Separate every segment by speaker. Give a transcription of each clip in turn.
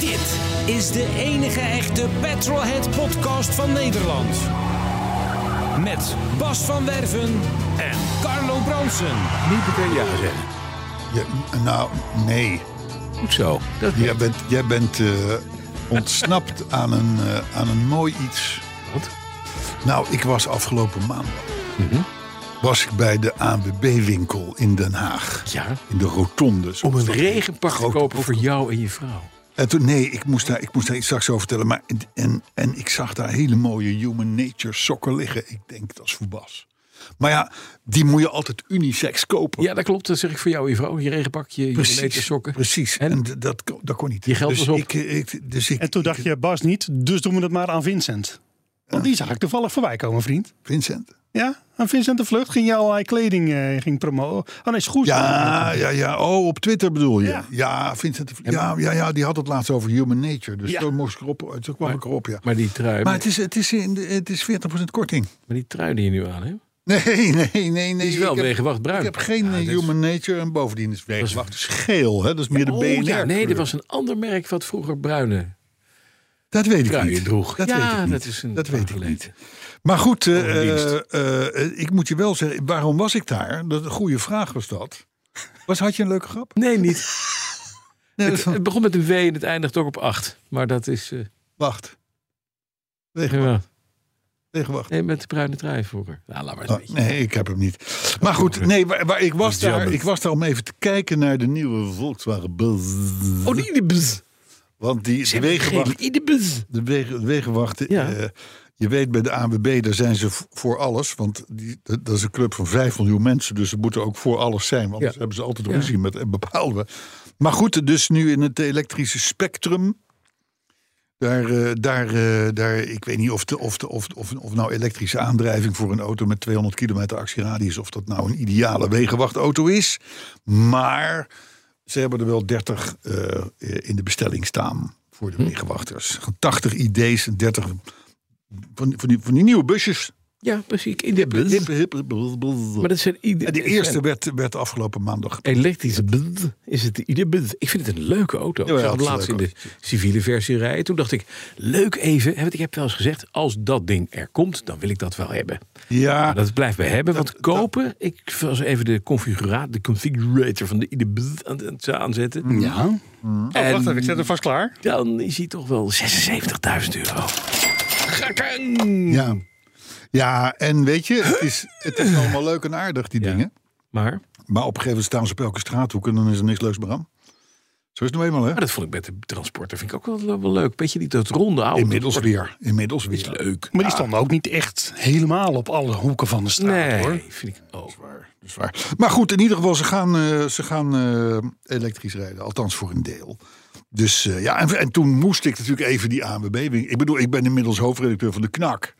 Speaker 1: Dit is de enige echte Petrolhead podcast van Nederland. Met Bas van Werven en Carlo Bronsen.
Speaker 2: Niet meteen ja zeggen.
Speaker 3: Ja, nou, nee.
Speaker 2: Goed zo. Dat is
Speaker 3: Jij bent, jij bent eh, ontsnapt aan een, eh, aan een mooi iets.
Speaker 2: Wat? Mhm.
Speaker 3: Nou, ik was afgelopen maandag. Was ik bij de ANWB-winkel in Den Haag.
Speaker 2: Ja.
Speaker 3: In de rotonde.
Speaker 2: Om een
Speaker 3: zoals dat heet.
Speaker 2: regenpak te
Speaker 3: Grote
Speaker 2: kopen voor jou en je vrouw.
Speaker 3: En toen, nee, ik moest, daar, ik moest daar iets straks over vertellen. Maar, en, en ik zag daar hele mooie human nature sokken liggen. Ik denk, dat is voor Bas. Maar ja, die moet je altijd unisex kopen.
Speaker 2: Ja, dat klopt. Dat zeg ik voor jou en je vrouw. Je regenpak, je, je leten sokken.
Speaker 3: Precies.
Speaker 2: En?
Speaker 3: En, d- dat, kon- dat kon niet.
Speaker 2: Je geld
Speaker 3: dus
Speaker 2: was op.
Speaker 3: Ik, eh, ik, dus ik,
Speaker 4: En toen dacht
Speaker 3: ik-
Speaker 4: je, Bas niet, dus doen we het maar aan Vincent. Want die zag ik toevallig voorbij komen, vriend.
Speaker 3: Vincent.
Speaker 4: Ja, aan Vincent de Vlucht ging je allerlei kleding eh, ging promoten. Oh nee, schoes.
Speaker 3: Ja, ja, ja. Oh, op Twitter bedoel je? Ja,
Speaker 4: Ja.
Speaker 3: Vincent. de Vlie- Ja, ja, ja, die had het laatst over human nature. Dus
Speaker 4: Ja.
Speaker 3: toen moest ik erop. Toen kwam ik erop, ja. Maar,
Speaker 2: Maar die trui,
Speaker 3: het, is, het, is in de, het is 40% korting.
Speaker 2: maar die trui die je nu aan hebt.
Speaker 3: Nee, nee, nee. nee
Speaker 2: Die is wel
Speaker 3: ik heb-
Speaker 2: wegenwacht bruin. Ah,
Speaker 3: Ik heb geen eh,
Speaker 2: dat is-
Speaker 3: human nature en bovendien is wegenwacht scheel. Hè? Dat is meer de BNR.
Speaker 2: Oh, ja, nee,
Speaker 3: kleur.
Speaker 2: dat was een ander merk wat vroeger bruine
Speaker 3: Dat weet ik
Speaker 2: truien
Speaker 3: niet.
Speaker 2: droeg.
Speaker 3: Dat
Speaker 2: ja,
Speaker 3: weet ik niet.
Speaker 2: dat is een
Speaker 3: dat
Speaker 2: paar
Speaker 3: weet ik
Speaker 2: geleden.
Speaker 3: niet. Maar goed, eh,
Speaker 2: Overdienst.
Speaker 3: eh, eh, ik moet je wel zeggen, waarom was ik daar? Dat een goede vraag was dat. Was, had je een leuke grap? eh,
Speaker 2: Nee, niet.
Speaker 3: Nee,
Speaker 2: Het,
Speaker 3: dat-
Speaker 2: het begon met een W en het eindigt ook op 8. Maar dat is... eh,
Speaker 3: wacht. Tegen,
Speaker 2: ja.
Speaker 3: tegenwacht.
Speaker 2: nee, met de bruine trui vroeger. Nou, laat maar eens een
Speaker 3: Oh,
Speaker 2: beetje.
Speaker 3: nee, ik heb hem niet. Maar goed, nee, waar, waar ik, was
Speaker 2: Dat is
Speaker 3: daar,
Speaker 2: jammer.
Speaker 3: ik was daar om even te kijken naar de nieuwe Volkswagen Buzz.
Speaker 2: Oh, die de bzz.
Speaker 3: Want die
Speaker 2: Ze
Speaker 3: de
Speaker 2: hebben
Speaker 3: wegenwacht,
Speaker 2: geen- die de bzz.
Speaker 3: de wegen, de wegenwachten,
Speaker 2: Ja.
Speaker 3: eh, je weet bij de ANWB, daar zijn ze v- voor alles. Want die, dat dat is een club van 5 miljoen mensen, dus ze moeten ook voor alles zijn. Want anders
Speaker 2: Ja.
Speaker 3: hebben ze altijd
Speaker 2: Ja.
Speaker 3: ruzie met een bepaalde. Maar goed, dus nu in het elektrische spectrum. Daar, eh, daar, eh, daar, ik weet niet of, de, of, de, of, of, of nou elektrische aandrijving voor een auto met 200 kilometer actieradius, of dat nou een ideale wegenwachtauto is. Maar ze hebben er wel 30 eh, in de bestelling staan voor
Speaker 2: Hm.
Speaker 3: de wegenwachters. 80 ID's en 30 van, van, die, van die nieuwe busjes.
Speaker 2: Ja, precies. In de bzz.
Speaker 3: Hip, hip, hip, bzz, bzz.
Speaker 2: Maar dat zijn ieder,
Speaker 3: En de eerste werd, werd afgelopen maandag.
Speaker 2: elektrische bzz is het de ieder bzz. Ik vind het een leuke auto.
Speaker 3: Ja,
Speaker 2: ik
Speaker 3: ja,
Speaker 2: zag
Speaker 3: het
Speaker 2: hem
Speaker 3: is
Speaker 2: laatst
Speaker 3: een
Speaker 2: in
Speaker 3: leuk
Speaker 2: de civiele versie rijden. Toen dacht ik, leuk even. hè, Want ik heb wel eens gezegd, als dat ding er komt, dan wil ik dat wel hebben.
Speaker 3: Ja,
Speaker 2: Maar dat blijft bij hebben, want kopen... Ik was even de configurator, de configurator van de ieder bzz aan het
Speaker 3: Mm.
Speaker 2: aanzetten.
Speaker 4: Ja. Oh,
Speaker 2: En-
Speaker 4: wacht even, ik zet hem vast klaar.
Speaker 2: Dan is hij toch wel 76.000 euro. Gekken!
Speaker 3: ja. ja, en weet je, het is, het is allemaal leuk en aardig, die
Speaker 2: Ja.
Speaker 3: dingen.
Speaker 2: Maar,
Speaker 3: Maar op een gegeven moment staan ze op elke straathoek en dan is er niks leuks meer aan. Zo is het nou eenmaal, hè?
Speaker 2: maar dat vond ik met de transporter vind ik ook wel, wel leuk. Beetje die, dat ronde oude.
Speaker 3: Inmiddels weer. Inmiddels
Speaker 2: Is
Speaker 3: weer.
Speaker 2: leuk.
Speaker 4: Maar die stonden ook niet echt helemaal op alle hoeken van de straat, Dus hoor.
Speaker 2: Nee, vind ik ook.
Speaker 3: Dat is waar. Maar goed, in ieder geval, ze gaan, eh, ze gaan eh, elektrisch rijden. Althans voor een deel. Dus eh, ja, en, en toen moest ik natuurlijk even die ANWB. Ik bedoel, ik ben inmiddels hoofdredacteur van de KNAK.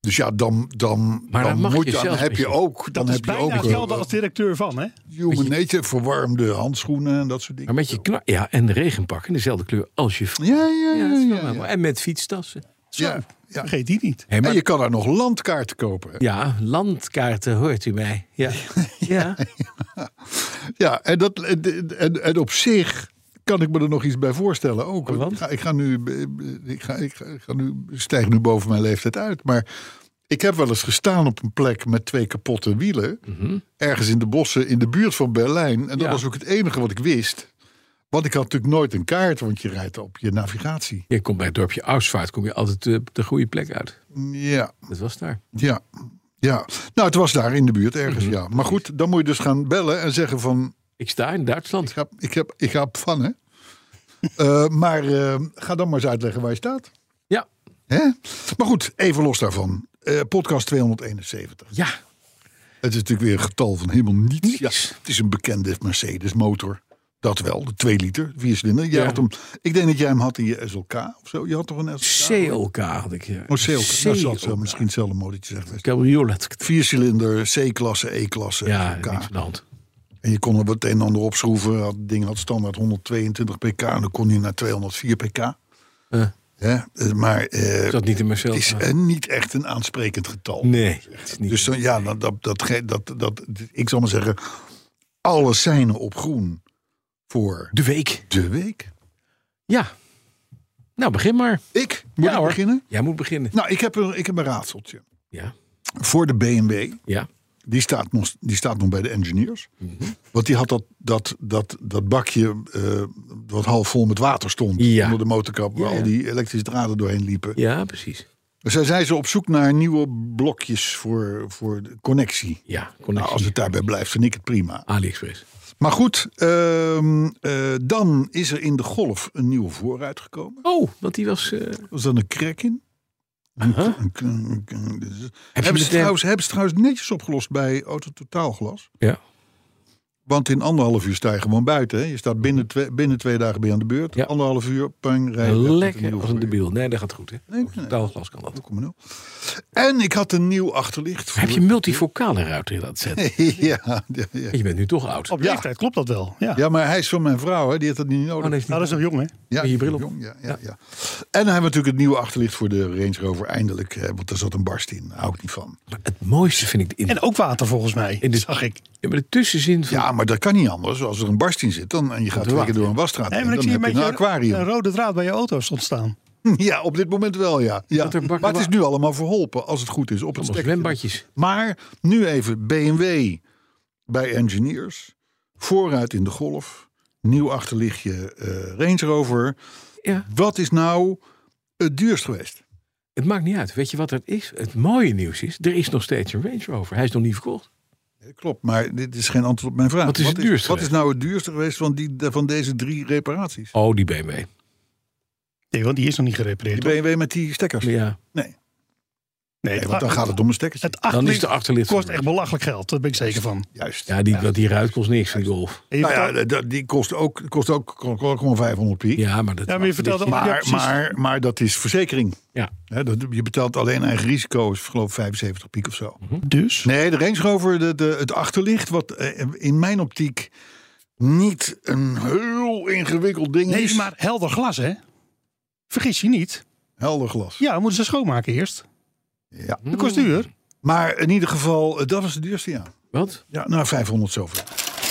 Speaker 3: Dus ja, dan, dan,
Speaker 2: Maar dan mag
Speaker 3: moet
Speaker 2: je
Speaker 3: dan
Speaker 2: zelfs
Speaker 3: heb
Speaker 2: met
Speaker 3: je
Speaker 2: je-
Speaker 3: ook, dan
Speaker 4: Dat is
Speaker 3: heb je
Speaker 4: bijna
Speaker 3: ook
Speaker 4: hetzelfde
Speaker 3: eh,
Speaker 4: als directeur van, hè?
Speaker 3: human nature, verwarmde handschoenen en dat soort
Speaker 2: Maar
Speaker 3: dingen.
Speaker 2: met je kna- ja, en de regenpak in dezelfde kleur als je vrouw.
Speaker 3: Ja, ja,
Speaker 2: Ja,
Speaker 3: ja.
Speaker 2: dat is wel
Speaker 3: ja,
Speaker 2: mooi.
Speaker 3: ja.
Speaker 2: En met fietstassen.
Speaker 3: Ja, ja.
Speaker 4: Vergeet die niet.
Speaker 2: Hé, maar-
Speaker 3: En je kan daar nog landkaarten kopen. hè.
Speaker 2: ja, landkaarten hoort u mij. Ja, ja.
Speaker 3: Ja, en, dat, en, en, en op zich kan ik me er nog iets bij voorstellen ook.
Speaker 2: Want?
Speaker 3: Ik ga, ik ga nu, ik ga, ik ga, ik ga nu, ik stijg nu boven mijn leeftijd uit. Maar ik heb wel eens gestaan op een plek met twee kapotte wielen. Ergens in de bossen in de buurt van Berlijn. En dat
Speaker 2: Mhm. Ja.
Speaker 3: was ook het enige wat ik wist. Want ik had natuurlijk nooit een kaart, want je rijdt op je navigatie.
Speaker 2: Je komt bij het dorpje Ausvaart, kom je altijd eh, op de goede plek uit.
Speaker 3: Ja,
Speaker 2: Dat was daar.
Speaker 3: ja, ja. Nou, het was daar in de buurt
Speaker 2: Mhm.
Speaker 3: ergens, ja. Maar goed, dan moet je dus gaan bellen en zeggen van...
Speaker 2: Ik sta in Duitsland.
Speaker 3: Ik ga, ik heb, ik ga op van, hè? Eh, maar eh, ga dan maar eens uitleggen waar je staat.
Speaker 2: Ja,
Speaker 3: Hè? Maar goed, even los daarvan. Eh, podcast 271.
Speaker 2: ja.
Speaker 3: Het is natuurlijk weer een getal van helemaal niets. Ja,
Speaker 2: Niks.
Speaker 3: het is een bekende Mercedes motor. Dat wel, de 2 liter, 4 cilinder. Jij
Speaker 2: Ja.
Speaker 3: had hem, ik denk dat jij hem had in je SLK of zo. Je had toch een SLK?
Speaker 2: CLK had ik, eh, ja.
Speaker 3: Oh, CLK. Dat zal het wel
Speaker 2: CLK.
Speaker 3: misschien hetzelfde motortje zijn geweest.
Speaker 2: Cabriolet.
Speaker 3: Vier cilinder, C-klasse, E-klasse.
Speaker 2: Ja,
Speaker 3: SLK.
Speaker 2: niks aan de hand.
Speaker 3: En je kon er wat een en ander opschroeven. Had- Het ding had standaard 122 pk en dan kon je naar 204 pk.
Speaker 2: Eh.
Speaker 3: Ja, eh, maar eh,
Speaker 2: Is dat niet in
Speaker 3: het
Speaker 2: Marcel?
Speaker 3: is eh, niet echt een aansprekend getal.
Speaker 2: Nee, het is niet.
Speaker 3: Dus dan, ja, dat, dat, dat, ge- dat, dat, ik zal maar zeggen, alle seinen op groen voor
Speaker 2: de week.
Speaker 3: de week.
Speaker 2: Ja. Nou, begin maar.
Speaker 3: Ik moet
Speaker 2: Ja,
Speaker 3: ik
Speaker 2: hoor.
Speaker 3: beginnen.
Speaker 2: Jij moet beginnen.
Speaker 3: Nou, ik heb, een, ik heb een raadseltje.
Speaker 2: Ja.
Speaker 3: Voor de BMW,
Speaker 2: Ja.
Speaker 3: die staat nog, die staat nog bij de engineers.
Speaker 2: Mhm.
Speaker 3: Want die had dat, dat, dat, dat bakje eh, wat half vol met water stond
Speaker 2: Ja.
Speaker 3: onder de motorkap, waar
Speaker 2: Ja, ja.
Speaker 3: al die elektrische draden doorheen liepen.
Speaker 2: Ja, precies.
Speaker 3: Dus daar zijn ze op zoek naar nieuwe blokjes voor, voor de connectie.
Speaker 2: Ja,
Speaker 3: Nou,
Speaker 2: connectie.
Speaker 3: als het daarbij blijft, vind ik het prima.
Speaker 2: AliExpress.
Speaker 3: Maar goed, ehm, eh, dan is er in de Golf een nieuwe voorruit gekomen.
Speaker 2: Oh, want die was... eh,
Speaker 3: Was dat een Kraken? Een-
Speaker 2: Huh?
Speaker 3: een- een- een- een- Hebben ze
Speaker 2: meteen-
Speaker 3: trouwens- hebben ze trouwens netjes opgelost bij Auto Totaalglas?
Speaker 2: Ja.
Speaker 3: Want in anderhalf uur sta je gewoon buiten. Hè? Je staat binnen twee, binnen twee dagen ben je aan de beurt.
Speaker 2: Mhm. Ja.
Speaker 3: Anderhalf uur, pang, rij je weg met een
Speaker 2: Lekker
Speaker 3: nieuwe
Speaker 2: als een
Speaker 3: voor je.
Speaker 2: debiel. Nee, dat gaat goed, hè?
Speaker 3: Nee, nee.
Speaker 2: Taalglas kan dat.
Speaker 3: 0,0. nou. En ik had een nieuw achterlicht.
Speaker 2: Heb je
Speaker 3: voor-
Speaker 2: multifocale ruiten in dat set?
Speaker 3: ja, ja, ja.
Speaker 2: Je bent nu toch oud.
Speaker 4: Op
Speaker 3: Ja.
Speaker 4: leeftijd klopt dat wel. Ja.
Speaker 3: ja, maar hij is van mijn vrouw. Hè? Die had dat niet nodig.
Speaker 2: Oh, nee, is
Speaker 4: Nou, dat
Speaker 2: niet-
Speaker 4: is nog jong, hè?
Speaker 3: Ja,
Speaker 2: Met je bril op.
Speaker 3: jong, Ja, ja, ja. En dan hebben we natuurlijk het nieuwe achterlicht voor de Range Rover eindelijk. Hè, want daar zat een barst in. Daar hou ik niet van.
Speaker 2: Maar Het mooiste vind ik de, in,
Speaker 4: En ook water volgens mij,
Speaker 2: In de-
Speaker 4: zag ik.
Speaker 2: ja, maar de tussenzin van...
Speaker 3: Ja, maar dat kan niet anders. Als er een barst in zit dan, en je gaat
Speaker 2: Dat
Speaker 3: twee keer
Speaker 2: wacht,
Speaker 3: door een wasstraat
Speaker 4: Nee,
Speaker 3: heen,
Speaker 4: maar ik
Speaker 3: dan
Speaker 4: zie een
Speaker 3: heb je
Speaker 4: beetje
Speaker 3: een aquarium.
Speaker 4: een rode draad bij je auto's ontstaan.
Speaker 3: Ja, op dit moment wel, ja. ja.
Speaker 2: Dat er bakken
Speaker 3: Maar het is
Speaker 2: wa-
Speaker 3: nu allemaal verholpen, als het goed is, op het
Speaker 2: Allemaal
Speaker 3: stekje.
Speaker 2: zwembadjes.
Speaker 3: Maar nu even BMW bij Engineers. Vooruit in de Golf. Nieuw achterlichtje eh, Range Rover.
Speaker 2: Ja,
Speaker 3: Wat is nou het duurst geweest?
Speaker 2: het maakt niet uit. Weet je wat het is? Het mooie nieuws is, er is nog steeds een Range Rover. Hij is nog niet verkocht.
Speaker 3: Eh, Klopt, maar dit is geen antwoord op mijn vraag.
Speaker 2: Wat is het duurste
Speaker 3: Wat is
Speaker 2: geweest?
Speaker 3: nou het duurste geweest van, die, van deze drie reparaties?
Speaker 2: Oh, die BMW.
Speaker 4: Nee, want die is nog niet gerepareerd.
Speaker 3: Die
Speaker 4: hoor.
Speaker 3: BMW met die stekkers? Nee,
Speaker 2: Ja,
Speaker 4: het
Speaker 3: want dan
Speaker 4: a-
Speaker 3: gaat het om een stekkertje.
Speaker 4: Het acht
Speaker 2: dan is de
Speaker 4: liter
Speaker 2: achterlicht...
Speaker 4: kost echt belachelijk geld, dat ben ik zeker van.
Speaker 3: Juist.
Speaker 2: Ja, die, dat die ruit kost niks, die Golf.
Speaker 4: En je
Speaker 3: Nou ja,
Speaker 4: vertelt-
Speaker 3: dat- die kost ook, kost ook gewoon 500 piek.
Speaker 2: Ja, maar dat...
Speaker 4: Ja, maar je vertelde-
Speaker 2: Maar,
Speaker 4: Ja,
Speaker 3: Maar,
Speaker 4: precies.
Speaker 3: maar, maar dat is verzekering.
Speaker 2: Ja.
Speaker 3: Hè, dat, je betaalt alleen eigen risico, is geloof ik 75 piek of zo.
Speaker 4: Dus?
Speaker 3: Nee, de Range Rover, de, de, het achterlicht, wat eh, in mijn optiek niet een heel ingewikkeld ding
Speaker 4: Nee,
Speaker 3: is.
Speaker 4: maar helder glas, hè? Vergis je niet.
Speaker 3: Helder glas.
Speaker 4: Ja, moeten ze schoonmaken eerst.
Speaker 3: Ja.
Speaker 4: Dat kost duur. Dus
Speaker 3: Maar in ieder geval, eh, dat is het duurste, ja.
Speaker 2: Wat?
Speaker 3: Ja, nou 500 zoveel.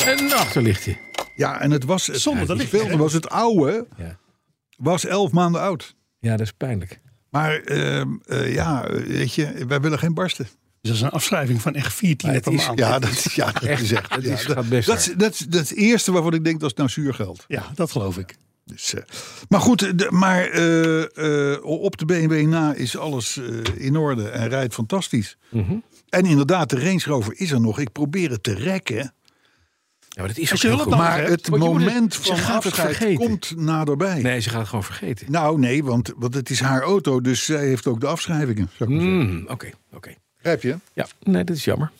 Speaker 2: Een achterlichtje.
Speaker 3: Ja, en het was... Het,
Speaker 4: Zonder dat
Speaker 3: het
Speaker 4: licht,
Speaker 3: speelde
Speaker 4: hè?
Speaker 3: was het oude,
Speaker 2: Ja.
Speaker 3: was 11 maanden oud.
Speaker 2: Ja, dat is pijnlijk.
Speaker 3: Maar ehm, eh, ja, weet je, wij willen geen barsten.
Speaker 4: Dus dat is een afschrijving van echt 14
Speaker 2: Maar
Speaker 4: per
Speaker 2: het is-
Speaker 4: maand. Ja.
Speaker 3: Ja, dat is, ja, dat
Speaker 2: Echt,
Speaker 3: is echt.
Speaker 2: het
Speaker 3: ja,
Speaker 2: is-
Speaker 3: dat,
Speaker 2: gaat best
Speaker 3: dat, is- dat, is- dat is het eerste waarvan ik denk dat is nou zuurgeld.
Speaker 4: dat geloof ik.
Speaker 3: Dus, eh, maar goed, de- maar eh, eh, op de BMW na is alles eh, in orde en rijdt fantastisch.
Speaker 2: Mhm.
Speaker 3: En inderdaad, de Range Rover is er nog. Ik probeer het te rekken.
Speaker 2: Ja, maar dat is
Speaker 4: Als
Speaker 2: ook
Speaker 4: je
Speaker 2: heel
Speaker 4: hulp
Speaker 2: goed.
Speaker 4: nodig
Speaker 3: Maar
Speaker 4: hebt,
Speaker 3: het
Speaker 2: want je moet het-
Speaker 3: moment
Speaker 2: ze
Speaker 3: van
Speaker 2: gaat het
Speaker 3: afscheid
Speaker 2: vergeten.
Speaker 3: komt naderbij.
Speaker 2: Nee, ze gaat het gewoon vergeten.
Speaker 3: Nou, nee, want, want het is haar auto, dus zij heeft ook de afschrijvingen. Zou ik maar zeggen.
Speaker 2: Mm, Oké, oké.
Speaker 3: Begrijp je?
Speaker 2: Ja, nee, dat is jammer.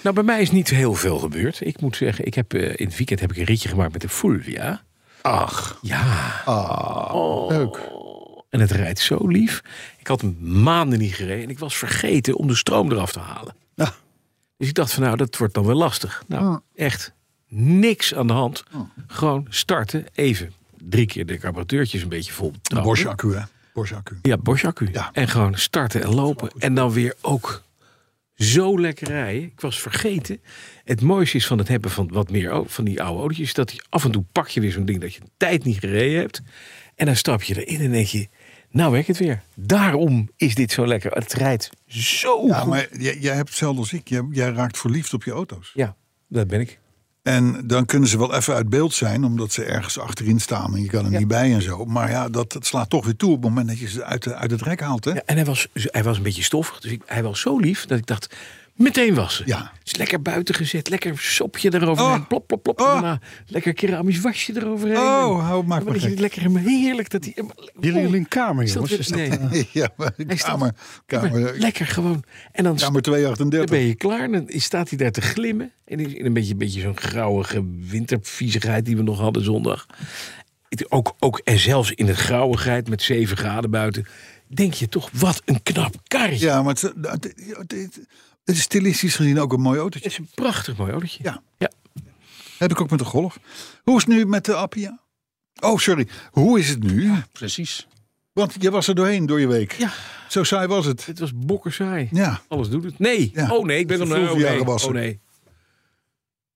Speaker 2: Nou, bij mij is niet heel veel gebeurd. Ik moet zeggen, ik heb, eh, in het weekend heb ik een ritje gemaakt met de Fulvia.
Speaker 3: Ach,
Speaker 2: Ja, Oh.
Speaker 3: leuk.
Speaker 2: en het rijdt zo lief. Ik had hem maanden niet gereden en ik was vergeten om de stroom eraf te halen.
Speaker 3: Ja.
Speaker 2: Dus ik dacht van, nou, dat wordt dan wel lastig. Nou, echt niks aan de hand. Gewoon starten, even drie keer de carburateurtjes een beetje vol.
Speaker 3: Een
Speaker 2: trappen.
Speaker 3: Bosch accu, hè? Bosch accu.
Speaker 2: Nou, Ja, Bosch accu.
Speaker 3: Ja.
Speaker 2: En gewoon starten en lopen. En dan weer ook zo lekker rijden. Ik was vergeten. Het mooiste is van het hebben van wat meer au- van die oude autootjes... dat je af en toe pak je weer zo'n ding dat je een tijd niet gereden hebt. En dan stap je erin en denk je... Nou werkt het weer. Daarom is dit zo lekker. Het rijdt zo
Speaker 3: Ja,
Speaker 2: goed.
Speaker 3: Nou, maar jij, jij hebt hetzelfde als ik. Jij, jij raakt verliefd op je auto's.
Speaker 2: Ja, dat ben ik.
Speaker 3: En dan kunnen ze wel even uit beeld zijn, omdat ze ergens achterin staan en je kan er niet bij en zo. Maar ja, dat, dat slaat toch weer toe op het moment dat je ze uit, de- uit het rek haalt. Hè?
Speaker 2: Ja, en hij was, hij was een beetje stoffig. Dus ik, hij was zo lief dat ik dacht... Meteen wassen.
Speaker 3: Ja.
Speaker 2: Het is lekker buiten gezet. Lekker sopje eroverheen.
Speaker 3: Oh.
Speaker 2: Plop, plop, plop.
Speaker 3: Oh.
Speaker 2: En daarna lekker keramisch wasje eroverheen.
Speaker 3: Oh,
Speaker 2: En-
Speaker 3: hou het maar
Speaker 2: en
Speaker 3: maar
Speaker 2: dat je
Speaker 3: gek.
Speaker 2: lekker hem heerlijk dat hij...
Speaker 4: Jullie
Speaker 2: Oh,
Speaker 4: jullie een kamer,
Speaker 2: is dat
Speaker 4: jongens.
Speaker 2: weer-
Speaker 4: Is dat,
Speaker 2: nee.
Speaker 4: eh,
Speaker 3: Ja, maar
Speaker 2: Hij staat-
Speaker 3: kamer, kamer,
Speaker 2: Lekker gewoon. En dan
Speaker 3: kamer
Speaker 2: Dan ben
Speaker 3: 238.
Speaker 2: je klaar. Dan staat hij daar te glimmen. En is in een beetje, beetje zo'n grauwige winterviezigheid die we nog hadden zondag. Het- Ook, ook, en zelfs in het grauwigheid met 7 graden buiten. Denk je toch, wat een knap karretje.
Speaker 3: Ja, maar het, het, het- het- het is stilistisch gezien ook een mooi
Speaker 2: Het
Speaker 3: autootje.
Speaker 2: is een prachtig mooi autootje.
Speaker 3: Ja.
Speaker 2: Ja.
Speaker 3: Heb ik ook met de Golf. Hoe is het nu met de Appia? Oh, sorry. Hoe is het nu?
Speaker 4: precies.
Speaker 3: Want je was er doorheen door je week.
Speaker 2: Ja.
Speaker 3: Zo saai was het.
Speaker 2: Het was bokkersaai.
Speaker 3: Ja.
Speaker 2: Alles doet het. Nee.
Speaker 3: Ja.
Speaker 2: Oh nee, ik ben
Speaker 3: Dus
Speaker 2: nog
Speaker 3: de
Speaker 2: oh,
Speaker 3: vroege
Speaker 2: nee.
Speaker 3: jaren was
Speaker 2: oh
Speaker 3: er.
Speaker 2: nee.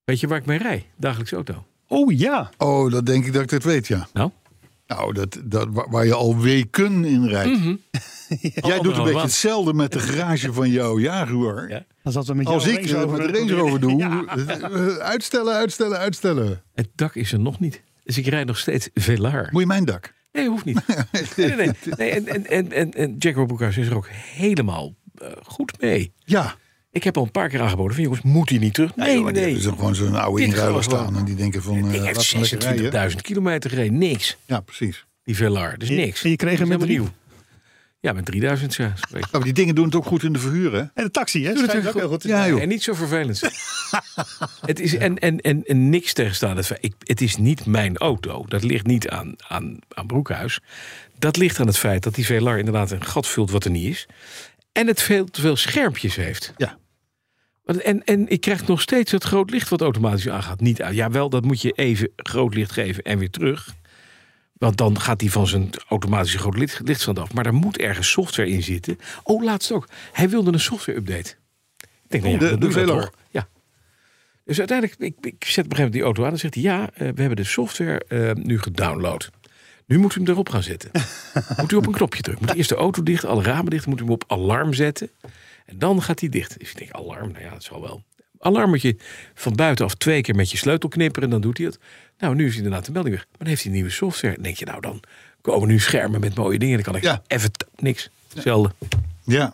Speaker 2: Weet je waar ik mee rij? Dagelijks auto.
Speaker 4: Oh ja.
Speaker 3: Oh, dat denk ik dat ik dat weet, ja.
Speaker 2: Nou?
Speaker 3: Nou, dat, dat, waar waar je al weken in rijdt.
Speaker 2: Mhm.
Speaker 3: Jij doet een
Speaker 2: Anderhalve
Speaker 3: beetje
Speaker 2: maand.
Speaker 3: hetzelfde met de garage van jouw Jaguar.
Speaker 2: Ja.
Speaker 4: Dan zat we met
Speaker 3: Als
Speaker 4: jouw
Speaker 3: ik
Speaker 4: Range
Speaker 3: eh,
Speaker 4: Rover
Speaker 3: met de
Speaker 4: proberen-
Speaker 3: Range Rover doe,
Speaker 4: Ja.
Speaker 3: eh, eh, uitstellen, uitstellen, uitstellen.
Speaker 2: Het dak is er nog niet. Dus ik rijd nog steeds Velar.
Speaker 3: Moet je mijn dak?
Speaker 2: Nee, hoeft niet. Nee, nee, nee. nee en, en, en, en, en Jack Robocaus is er ook helemaal eh, goed mee.
Speaker 3: Ja.
Speaker 2: Ik heb al een paar keer aangeboden van jongens, moet hij niet terug? Nee,
Speaker 3: Maar die
Speaker 2: nee.
Speaker 3: hebben ze gewoon zo'n oude
Speaker 2: Dit
Speaker 3: inruiler
Speaker 2: gaan we
Speaker 3: staan. En die denken van, eh
Speaker 2: Die
Speaker 3: laat
Speaker 2: heeft
Speaker 3: maar lekker rijden.
Speaker 2: 26.000 kilometer gereden. Niks,
Speaker 3: Ja, precies.
Speaker 2: die Velar. Dus
Speaker 4: Je-
Speaker 2: niks.
Speaker 4: en je kreeg hem
Speaker 2: Dat is
Speaker 4: met
Speaker 2: helemaal nieuw. Ja, met 3000 ja, zo'n beetje.
Speaker 3: Ja, maar die dingen doen het ook goed in de verhuur, hè?
Speaker 4: En de taxi, hè?
Speaker 2: Doe
Speaker 4: Schijnt
Speaker 2: natuurlijk
Speaker 4: ook heel goed.
Speaker 3: Ja, joh.
Speaker 2: En niet zo vervelend. zijn. het is, en, en, en, en niks tegenstaan. Het, feit- ik, het is niet mijn auto. Dat ligt niet aan, aan, aan Broekhuis. Dat ligt aan het feit dat die Velar inderdaad een gat vult wat er niet is. En het veel te veel schermpjes heeft.
Speaker 3: Ja.
Speaker 2: Want- En, en ik krijg nog steeds het groot licht wat automatisch aangaat. Niet uit. Ja, wel, dat moet je even groot licht geven en weer terug. Want dan gaat hij van zijn automatische groot licht, lichtstand af. Maar daar moet ergens software in zitten. Oh, laatst ook. Hij wilde een software-update. Ik denk, nou ja,
Speaker 3: De-
Speaker 2: dat doe
Speaker 3: de
Speaker 2: je dat
Speaker 3: Velar.
Speaker 2: toch? Ja. Dus uiteindelijk, ik, ik zet op een gegeven moment die auto aan en zegt hij... ja, eh, we hebben de software eh, nu gedownload. Nu moet u hem erop gaan zetten. moet u op een knopje drukken. Moet eerst de auto dicht, alle ramen dicht. Moet u hem op alarm zetten. En dan gaat hij dicht. Dus ik denk, alarm, nou ja, dat zal wel. Alarm moet je van buitenaf twee keer met je sleutel knipperen. Dan doet hij het. Nou, nu is inderdaad de melding weg. Maar dan heeft hij nieuwe software. Dan denk je, nou dan komen nu schermen met mooie dingen. Dan kan ik
Speaker 3: Ja.
Speaker 2: even t- niks. Hetzelfde.
Speaker 3: Ja.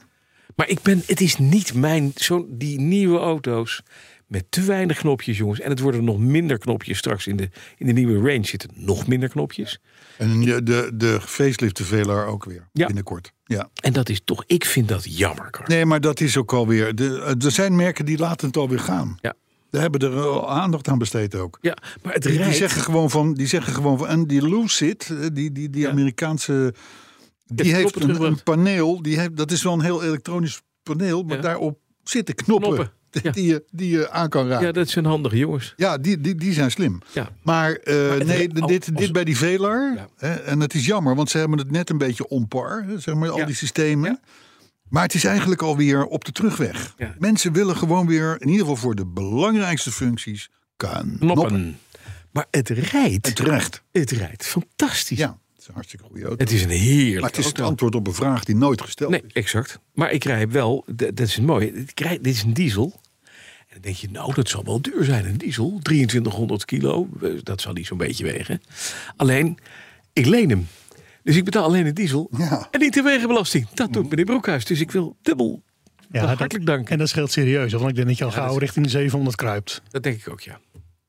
Speaker 2: Maar ik ben, het is niet mijn, zo, die nieuwe auto's met te weinig knopjes, jongens. En het worden nog minder knopjes straks in de, in de nieuwe range zitten. Nog minder knopjes.
Speaker 3: En de, de, de facelift de Velar ook weer.
Speaker 2: Ja.
Speaker 3: Binnenkort. Ja.
Speaker 2: En dat is toch, ik vind dat jammer, Carl.
Speaker 3: Nee, maar dat is ook alweer. De, er zijn merken die laten het alweer gaan.
Speaker 2: Ja.
Speaker 3: Daar hebben er al aandacht aan besteed ook.
Speaker 2: Ja, maar het
Speaker 3: Die, die
Speaker 2: rijdt.
Speaker 3: zeggen gewoon van, die zeggen gewoon van, en die Lucid, eh, die, die, die Amerikaanse, die
Speaker 2: knoppen
Speaker 3: heeft een,
Speaker 2: teruggebracht.
Speaker 3: een paneel, die heeft, dat is wel een heel elektronisch paneel, maar
Speaker 2: Ja.
Speaker 3: daarop zitten knoppen,
Speaker 2: Knoppen, ja.
Speaker 3: Die, je, die je aan kan raken.
Speaker 2: ja,
Speaker 3: Ja,
Speaker 2: dat zijn handige jongens.
Speaker 3: die, die, die zijn slim.
Speaker 2: Ja.
Speaker 3: Maar, eh,
Speaker 2: het
Speaker 3: nee,
Speaker 2: re-
Speaker 3: dit,
Speaker 2: als-
Speaker 3: dit bij die Velar,
Speaker 2: Ja.
Speaker 3: hè, en het is jammer, want ze hebben het net een beetje onpar, hè, zeg maar, al
Speaker 2: Ja.
Speaker 3: die systemen. Maar het is eigenlijk alweer op de terugweg.
Speaker 2: Ja.
Speaker 3: Mensen willen gewoon weer, in ieder geval voor de belangrijkste functies, kan
Speaker 2: Knoppen. Maar het rijdt.
Speaker 3: En terecht.
Speaker 2: Het rijdt fantastisch.
Speaker 3: Ja, het is een hartstikke goede auto.
Speaker 2: Het is een heerlijk
Speaker 3: maar het is het
Speaker 2: auto.
Speaker 3: antwoord op een vraag die nooit gesteld
Speaker 2: Nee,
Speaker 3: is.
Speaker 2: exact. Maar ik rij wel, d- dat is het mooie. Ik rij, dit is een diesel. En dan denk je, nou, dat zal wel duur zijn, een diesel. 2300 kilo, eh, dat zal die zo'n beetje wegen. Alleen, ik leen hem. Dus ik betaal alleen de diesel
Speaker 3: Ja. Mm.
Speaker 2: en niet de wegenbelasting. Dat doet meneer Broekhuis. Dus ik wil dubbel.
Speaker 4: Ja, dat-
Speaker 2: hartelijk dank.
Speaker 4: En dat scheelt serieus, want ik denk dat je al gauw
Speaker 2: dat-
Speaker 4: richting de 700 kruipt.
Speaker 2: Dat denk ik ook, ja.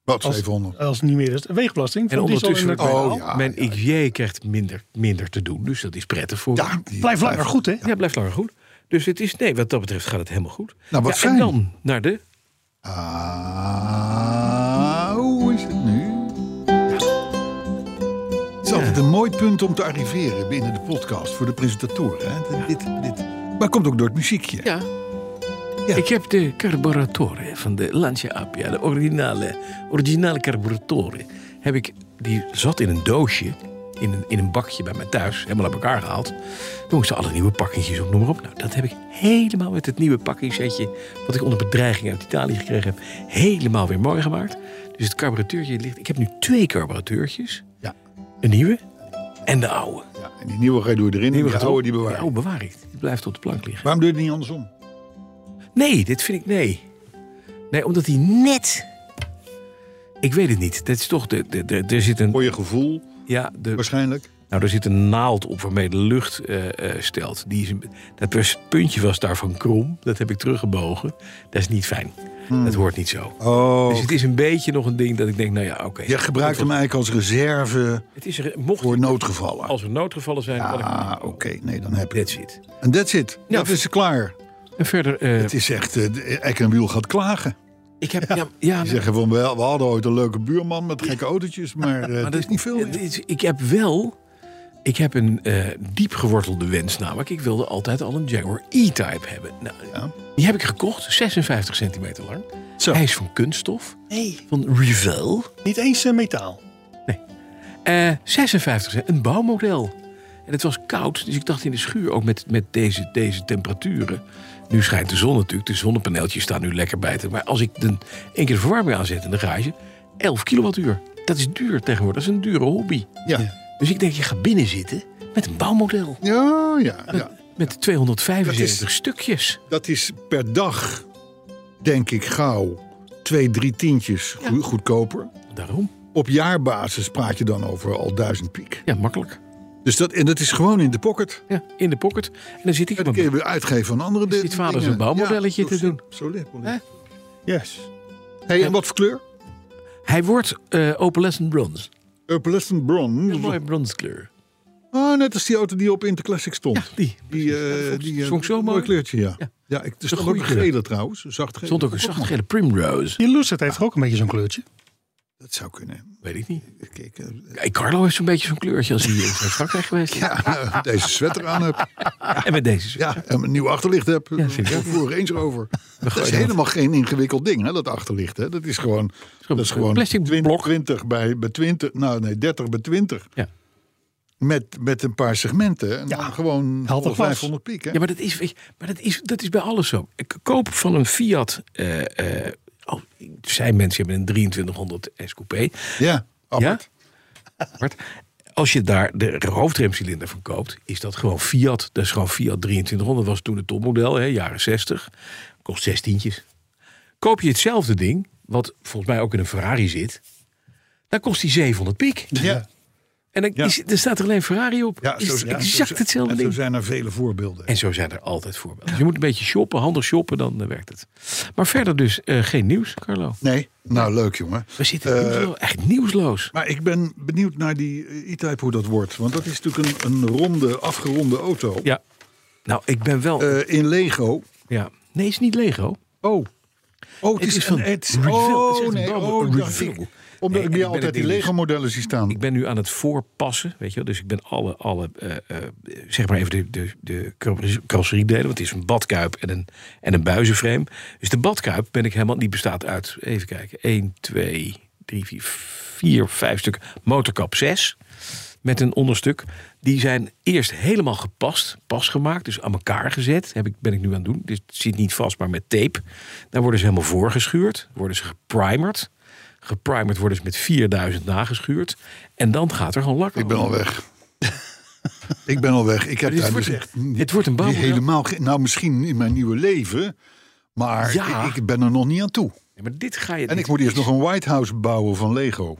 Speaker 3: Wat
Speaker 4: Als- eh,
Speaker 3: 700?
Speaker 4: Als het niet meer is. Weegbelasting.
Speaker 2: En
Speaker 4: van diesel
Speaker 2: ondertussen,
Speaker 4: en-
Speaker 3: Oh, ja,
Speaker 2: mijn XJ krijgt minder, minder te doen. Dus dat is prettig voor
Speaker 3: Ja,
Speaker 2: hem.
Speaker 3: die-
Speaker 4: Blijf langer goed, hè?
Speaker 2: Ja, blijft langer goed. Dus het is, nee, wat dat betreft gaat het helemaal goed.
Speaker 3: Nou, wat
Speaker 2: ja, en
Speaker 3: fijn.
Speaker 2: dan naar de
Speaker 3: Ah, hoe is het nu? Het is altijd een mooi punt om te arriveren binnen de podcast voor de presentatoren. Hè? Dit, dit. Maar het komt ook door het muziekje.
Speaker 2: Ja. Ik heb de carburatore van de Lancia Appia, de originale, originale carburatore. Heb ik, die zat in een doosje, in een, in een bakje bij mij thuis, helemaal uit elkaar gehaald. Toen moesten alle nieuwe pakketjes op, noem maar op. Nou, dat heb ik helemaal met het nieuwe pakkingsetje, wat ik onder bedreiging uit Italië gekregen heb, helemaal weer mooi gemaakt. Dus het carburateurtje ligt. Ik heb nu twee carburateurtjes:
Speaker 3: Ja.
Speaker 2: een nieuwe en de oude.
Speaker 3: Ja, en die nieuwe ga je door erin,
Speaker 2: Nieuwe
Speaker 3: die
Speaker 2: gaat
Speaker 3: oude
Speaker 2: erop,
Speaker 3: die bewaar.
Speaker 2: De
Speaker 3: je.
Speaker 2: oude bewaar ik. Die blijft op de plank liggen.
Speaker 3: Waarom doe je het niet andersom?
Speaker 2: Nee, dit vind ik nee. Nee, omdat hij net. Ik weet het niet. Dat is toch. De, de, de, er zit een.
Speaker 3: Voor je gevoel
Speaker 2: Ja, de,
Speaker 3: waarschijnlijk.
Speaker 2: Nou, daar zit een naald op waarmee de lucht eh, eh, stelt. Die is een- dat was- puntje was daarvan krom. Dat heb ik teruggebogen. Dat is niet fijn. Dat hoort niet zo.
Speaker 3: Oh.
Speaker 2: Dus het is een beetje nog een ding dat ik denk, nou ja, oké.
Speaker 3: Je gebruikt hem eigenlijk als reserve
Speaker 2: Het is er, mocht
Speaker 3: voor noodgevallen.
Speaker 2: als er noodgevallen zijn, kan ik
Speaker 3: Ah, oké. Nee, dan heb ik
Speaker 2: That's it.
Speaker 3: En that's it.
Speaker 2: Ja,
Speaker 3: dat is klaar.
Speaker 2: En verder, eh,
Speaker 3: Het is echt, eh, de- Eck en Wiel gaat klagen.
Speaker 2: ik heb... Ja, ja,
Speaker 3: Die zeggen van, wel, we hadden ooit een leuke buurman met gekke autootjes, maar, eh dat is niet veel.
Speaker 2: Het is- Ik heb wel... Ik heb een eh diepgewortelde wens namelijk. Ik wilde altijd al een Jaguar E-Type hebben. Nou,
Speaker 3: Ja.
Speaker 2: Die heb ik gekocht, 56 centimeter lang.
Speaker 3: Zo.
Speaker 2: Hij is van kunststof,
Speaker 4: Nee,
Speaker 2: van Rivel.
Speaker 4: niet eens eh, metaal.
Speaker 2: Eh 56, cent- een bouwmodel. En het was koud, dus ik dacht in de schuur ook met, met deze, deze temperaturen. Nu schijnt de zon natuurlijk, de zonnepaneeltjes staan nu lekker buiten. Maar als ik de, één keer de verwarming aanzet in de garage, 11 kilowattuur. Dat is duur tegenwoordig, dat is een dure hobby.
Speaker 3: Ja,
Speaker 2: Dus ik denk, je gaat binnen zitten met een bouwmodel.
Speaker 3: ja, ja. ja.
Speaker 2: Met 275 stukjes.
Speaker 3: Dat is per dag, denk ik, gauw twee, drie tientjes goe- goedkoper.
Speaker 2: Daarom.
Speaker 3: Op jaarbasis praat je dan over al duizend piek.
Speaker 2: Ja, makkelijk.
Speaker 3: Dus dat, en dat is gewoon in de pocket.
Speaker 2: Ja, in de pocket. En dan zit ik
Speaker 3: En
Speaker 2: op
Speaker 3: dan
Speaker 2: mijn
Speaker 3: kun je weer uitgeven aan andere
Speaker 2: Zit
Speaker 3: dingen.
Speaker 2: vader zijn bouwmodelletje
Speaker 3: Ja,
Speaker 2: te doen.
Speaker 3: Zo ligt het.
Speaker 2: Hè?
Speaker 3: Yes. Hey, en wat voor kleur?
Speaker 2: Hij wordt eh opalescent bronze.
Speaker 3: Opalescent
Speaker 2: Een mooie
Speaker 3: Bronze.
Speaker 2: bronskleur.
Speaker 3: Oh, net als die auto die op Interclassic stond.
Speaker 2: Ja, die.
Speaker 3: Die, eh,
Speaker 2: Ja, vond-
Speaker 3: die eh,
Speaker 2: vond ik zo
Speaker 3: een
Speaker 2: mooi.
Speaker 3: kleurtje, ja.
Speaker 2: Ja.
Speaker 3: ja. ik, het is
Speaker 2: Zo'n
Speaker 3: toch ook een
Speaker 2: goede kleur.
Speaker 3: gele trouwens, een zacht gele. Oh,
Speaker 2: Stond ook een zachtgele primrose.
Speaker 4: Die Lucid heeft toch ook een beetje zo'n kleurtje.
Speaker 3: Dat zou kunnen.
Speaker 2: Weet ik niet.
Speaker 3: Kijk, eh,
Speaker 2: Hey, Carlo heeft zo'n beetje zo'n kleurtje als hij in zijn Frankrijk geweest is.
Speaker 3: ja, eh, deze sweater aan heb.
Speaker 2: En met deze. zo.
Speaker 3: Ja, en een nieuw achterlicht heb. Ja,
Speaker 2: vind ik ook.
Speaker 3: voor Range Rover. Dat is
Speaker 2: dat.
Speaker 3: helemaal geen ingewikkeld ding, hè, dat achterlicht. Hè. Dat is gewoon, dat is
Speaker 2: een
Speaker 3: gewoon
Speaker 2: plastic blok.
Speaker 3: 20 bij, bij 20, nou nee, 30 bij 20.
Speaker 2: Ja.
Speaker 3: Met, met een paar segmenten. En dan gewoon
Speaker 4: Helder
Speaker 3: voor
Speaker 4: glas.
Speaker 3: 500 piek. Hè.
Speaker 2: Ja, maar dat is, weet je, maar dat is, dat is bij alles zo. Ik koop van een Fiat. eh, eh, oh, er zijn mensen die hebben een 2300 S Coupé.
Speaker 3: Ja, Albert.
Speaker 2: Bart, Als je daar de hoofdremcilinder van koopt, is dat gewoon Fiat. Dat is gewoon Fiat 2300. Dat was toen het topmodel, hè, jaren 60. Kost zestientjes. Koop je hetzelfde ding, wat volgens mij ook in een Ferrari zit, dan kost die 700 piek.
Speaker 3: Ja,
Speaker 2: En dan, is, dan staat er alleen Ferrari op.
Speaker 3: ja,
Speaker 2: is
Speaker 3: zo-
Speaker 2: het
Speaker 3: ja,
Speaker 2: exact
Speaker 3: zo-
Speaker 2: hetzelfde
Speaker 3: en
Speaker 2: ding.
Speaker 3: Zo zijn er vele voorbeelden.
Speaker 2: En zo zijn er altijd voorbeelden. Dus je moet een beetje shoppen, handig shoppen, dan eh, werkt het. Maar verder dus eh, geen nieuws, Carlo.
Speaker 3: Nee, nou leuk jongen.
Speaker 2: We zitten
Speaker 3: Eh,
Speaker 2: nieuwslo- echt nieuwsloos.
Speaker 3: Maar ik ben benieuwd naar die eh, E-Type hoe dat wordt. Want dat is natuurlijk een, een ronde, afgeronde auto.
Speaker 2: Ja. Nou, ik ben wel...
Speaker 3: Eh, in Lego.
Speaker 2: ja. Nee, is niet Lego.
Speaker 3: Oh. Oh, het,
Speaker 2: Het
Speaker 3: is,
Speaker 2: is
Speaker 3: een,
Speaker 2: van
Speaker 3: het is-
Speaker 2: Reveal. Het is
Speaker 3: Oh,
Speaker 2: echt
Speaker 3: nee.
Speaker 2: een
Speaker 3: Oh,
Speaker 2: Reveal.
Speaker 3: dacht ik.
Speaker 2: Nee,
Speaker 3: Omdat
Speaker 2: en
Speaker 3: ik
Speaker 2: ik
Speaker 3: die
Speaker 2: ben
Speaker 3: altijd
Speaker 2: het
Speaker 3: die
Speaker 2: niet.
Speaker 3: Lego-modellen zie staan.
Speaker 2: Ik ben nu aan het voorpassen, weet je wel. Dus ik ben alle, alle eh, eh, zeg maar even de, de, de carrosserie- carrosseriedelen. Want het is een badkuip en een, en een buizenframe. Dus de badkuip ben ik helemaal, die bestaat uit, even kijken. 1, 2, 3, 4, 4, 5 stukken. Motorkap 6 met een onderstuk. Die zijn eerst helemaal gepast, pas gemaakt, dus aan elkaar gezet. Heb ik, ben ik nu aan het doen. Dus het zit niet vast, maar met tape. Daar worden ze helemaal voorgeschuurd, worden ze geprimerd. Geprimerd worden ze met 4000 nageschuurd. En dan gaat er gewoon lak
Speaker 3: Ik ben al weg. ik ben al weg. Ik heb
Speaker 2: dit
Speaker 3: daar
Speaker 2: wordt
Speaker 3: dus
Speaker 2: echt-
Speaker 3: echt niet-
Speaker 2: het wordt een
Speaker 3: niet
Speaker 2: bouwmodel.
Speaker 3: helemaal... ge- Nou, misschien in mijn nieuwe leven. Maar
Speaker 2: Ja.
Speaker 3: ik, ik ben er nog niet aan toe.
Speaker 2: Ja, maar dit ga je
Speaker 3: En
Speaker 2: dit
Speaker 3: ik moet eerst
Speaker 2: is-
Speaker 3: nog een White House bouwen van Lego.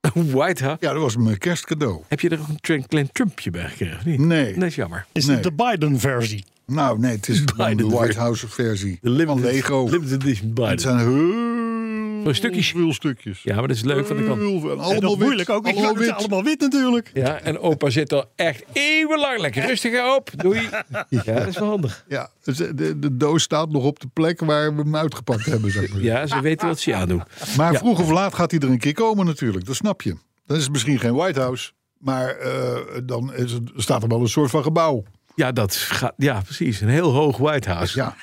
Speaker 2: White House.
Speaker 3: Ja, dat was mijn kerstcadeau.
Speaker 2: Heb je er ook een klein- klein Trumpje bij gekregen? of niet?
Speaker 3: Nee.
Speaker 2: Dat is jammer.
Speaker 4: Is
Speaker 3: Nee.
Speaker 4: de Biden-versie.
Speaker 3: Nou, nee, het is gewoon de
Speaker 2: Biden
Speaker 3: White
Speaker 2: versie.
Speaker 3: House versie
Speaker 2: De limited,
Speaker 3: van Lego.
Speaker 2: Limited edition
Speaker 3: Het
Speaker 2: Biden.
Speaker 3: zijn heel
Speaker 2: Van stukjes.
Speaker 3: veel stukjes.
Speaker 2: Ja, maar dat is leuk van de kant.
Speaker 3: Heel veel. En
Speaker 4: En
Speaker 3: allemaal
Speaker 4: dat
Speaker 3: wit.
Speaker 4: moeilijk ook. Ik
Speaker 3: Allemaal
Speaker 4: het
Speaker 3: wit.
Speaker 4: allemaal wit natuurlijk.
Speaker 2: Ja, en opa zit al echt eeuwenlang lekker rustig op. Doei. Ja, dat is wel handig.
Speaker 3: Ja, dus de, de doos staat nog op de plek waar we hem uitgepakt hebben. Zeg maar.
Speaker 2: Ja, ze weten wat ze aandoen.
Speaker 3: Maar vroeg of laat gaat hij er een keer komen natuurlijk. Dat snap je. Dan is het misschien geen White House. Maar eh, dan is het, staat er wel een soort van gebouw.
Speaker 2: Ja, dat gaat, ja, precies. Een heel hoog White House.
Speaker 3: Ja.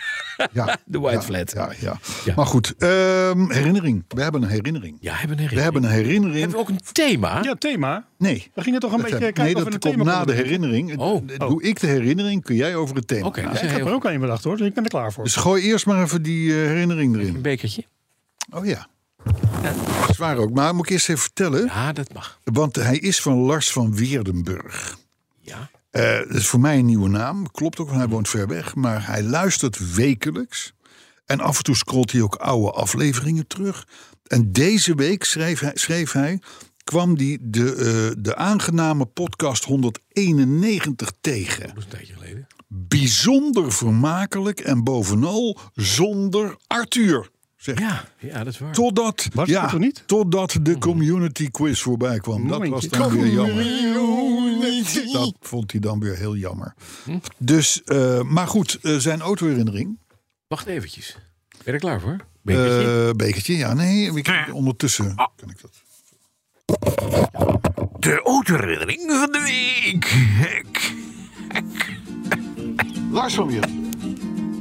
Speaker 3: ja.
Speaker 2: De White
Speaker 3: ja,
Speaker 2: Flat.
Speaker 3: Ja, ja.
Speaker 2: Ja.
Speaker 3: Maar goed, ehm, herinnering. We hebben een herinnering.
Speaker 2: Ja, hebben we een
Speaker 3: We hebben een herinnering.
Speaker 2: Hebben we ook een thema?
Speaker 4: Ja, thema.
Speaker 3: Nee.
Speaker 4: We gingen toch een
Speaker 3: Dat
Speaker 4: beetje
Speaker 3: heb-
Speaker 4: kijken
Speaker 3: nee, dat
Speaker 4: of we een
Speaker 3: komt
Speaker 4: thema
Speaker 3: na de
Speaker 4: konden
Speaker 3: herinnering.
Speaker 2: Oh.
Speaker 3: Eh, Doe ik de herinnering, kun jij over het thema.
Speaker 2: Oké, dat
Speaker 3: praten.
Speaker 2: is een,
Speaker 4: Ik heb
Speaker 2: heel,
Speaker 4: er ook één bedacht hoor, dus ik ben er klaar voor.
Speaker 3: Dus gooi eerst maar even die eh, herinnering
Speaker 2: een
Speaker 3: erin.
Speaker 2: bekertje.
Speaker 3: Oh ja. Dat is waar ook. Maar moet ik eerst even vertellen.
Speaker 2: Ja, dat mag.
Speaker 3: Want hij is van Lars van Weerdenburg.
Speaker 2: Ja.
Speaker 3: Eh, dat is voor mij een nieuwe naam. Klopt ook, want hij woont ver weg. Maar hij luistert wekelijks. En af en toe scrolt hij ook oude afleveringen terug. En deze week schreef hij, schreef hij kwam hij de, eh, de aangename podcast 191 tegen.
Speaker 2: Dat is een tijdje geleden.
Speaker 3: Bijzonder vermakelijk en bovenal zonder Arthur. Zegt hij.
Speaker 2: Ja, ja dat is waar.
Speaker 3: Totdat,
Speaker 4: Was het
Speaker 3: ja,
Speaker 4: er niet? Hmm.
Speaker 3: totdat de community quiz voorbij kwam. Dat was
Speaker 4: Momentje.
Speaker 3: dan weer jammer. Dat vond hij dan weer heel jammer.
Speaker 4: Hm?
Speaker 3: Dus, eh, maar goed, eh, zijn autoherinnering.
Speaker 2: Wacht eventjes. Ben je er klaar voor? Ben je-
Speaker 3: Eh bekertje, ja, nee. Ik, ondertussen kan ik dat.
Speaker 2: De autoherinnering van de week. Hek.
Speaker 3: Lars van Wier.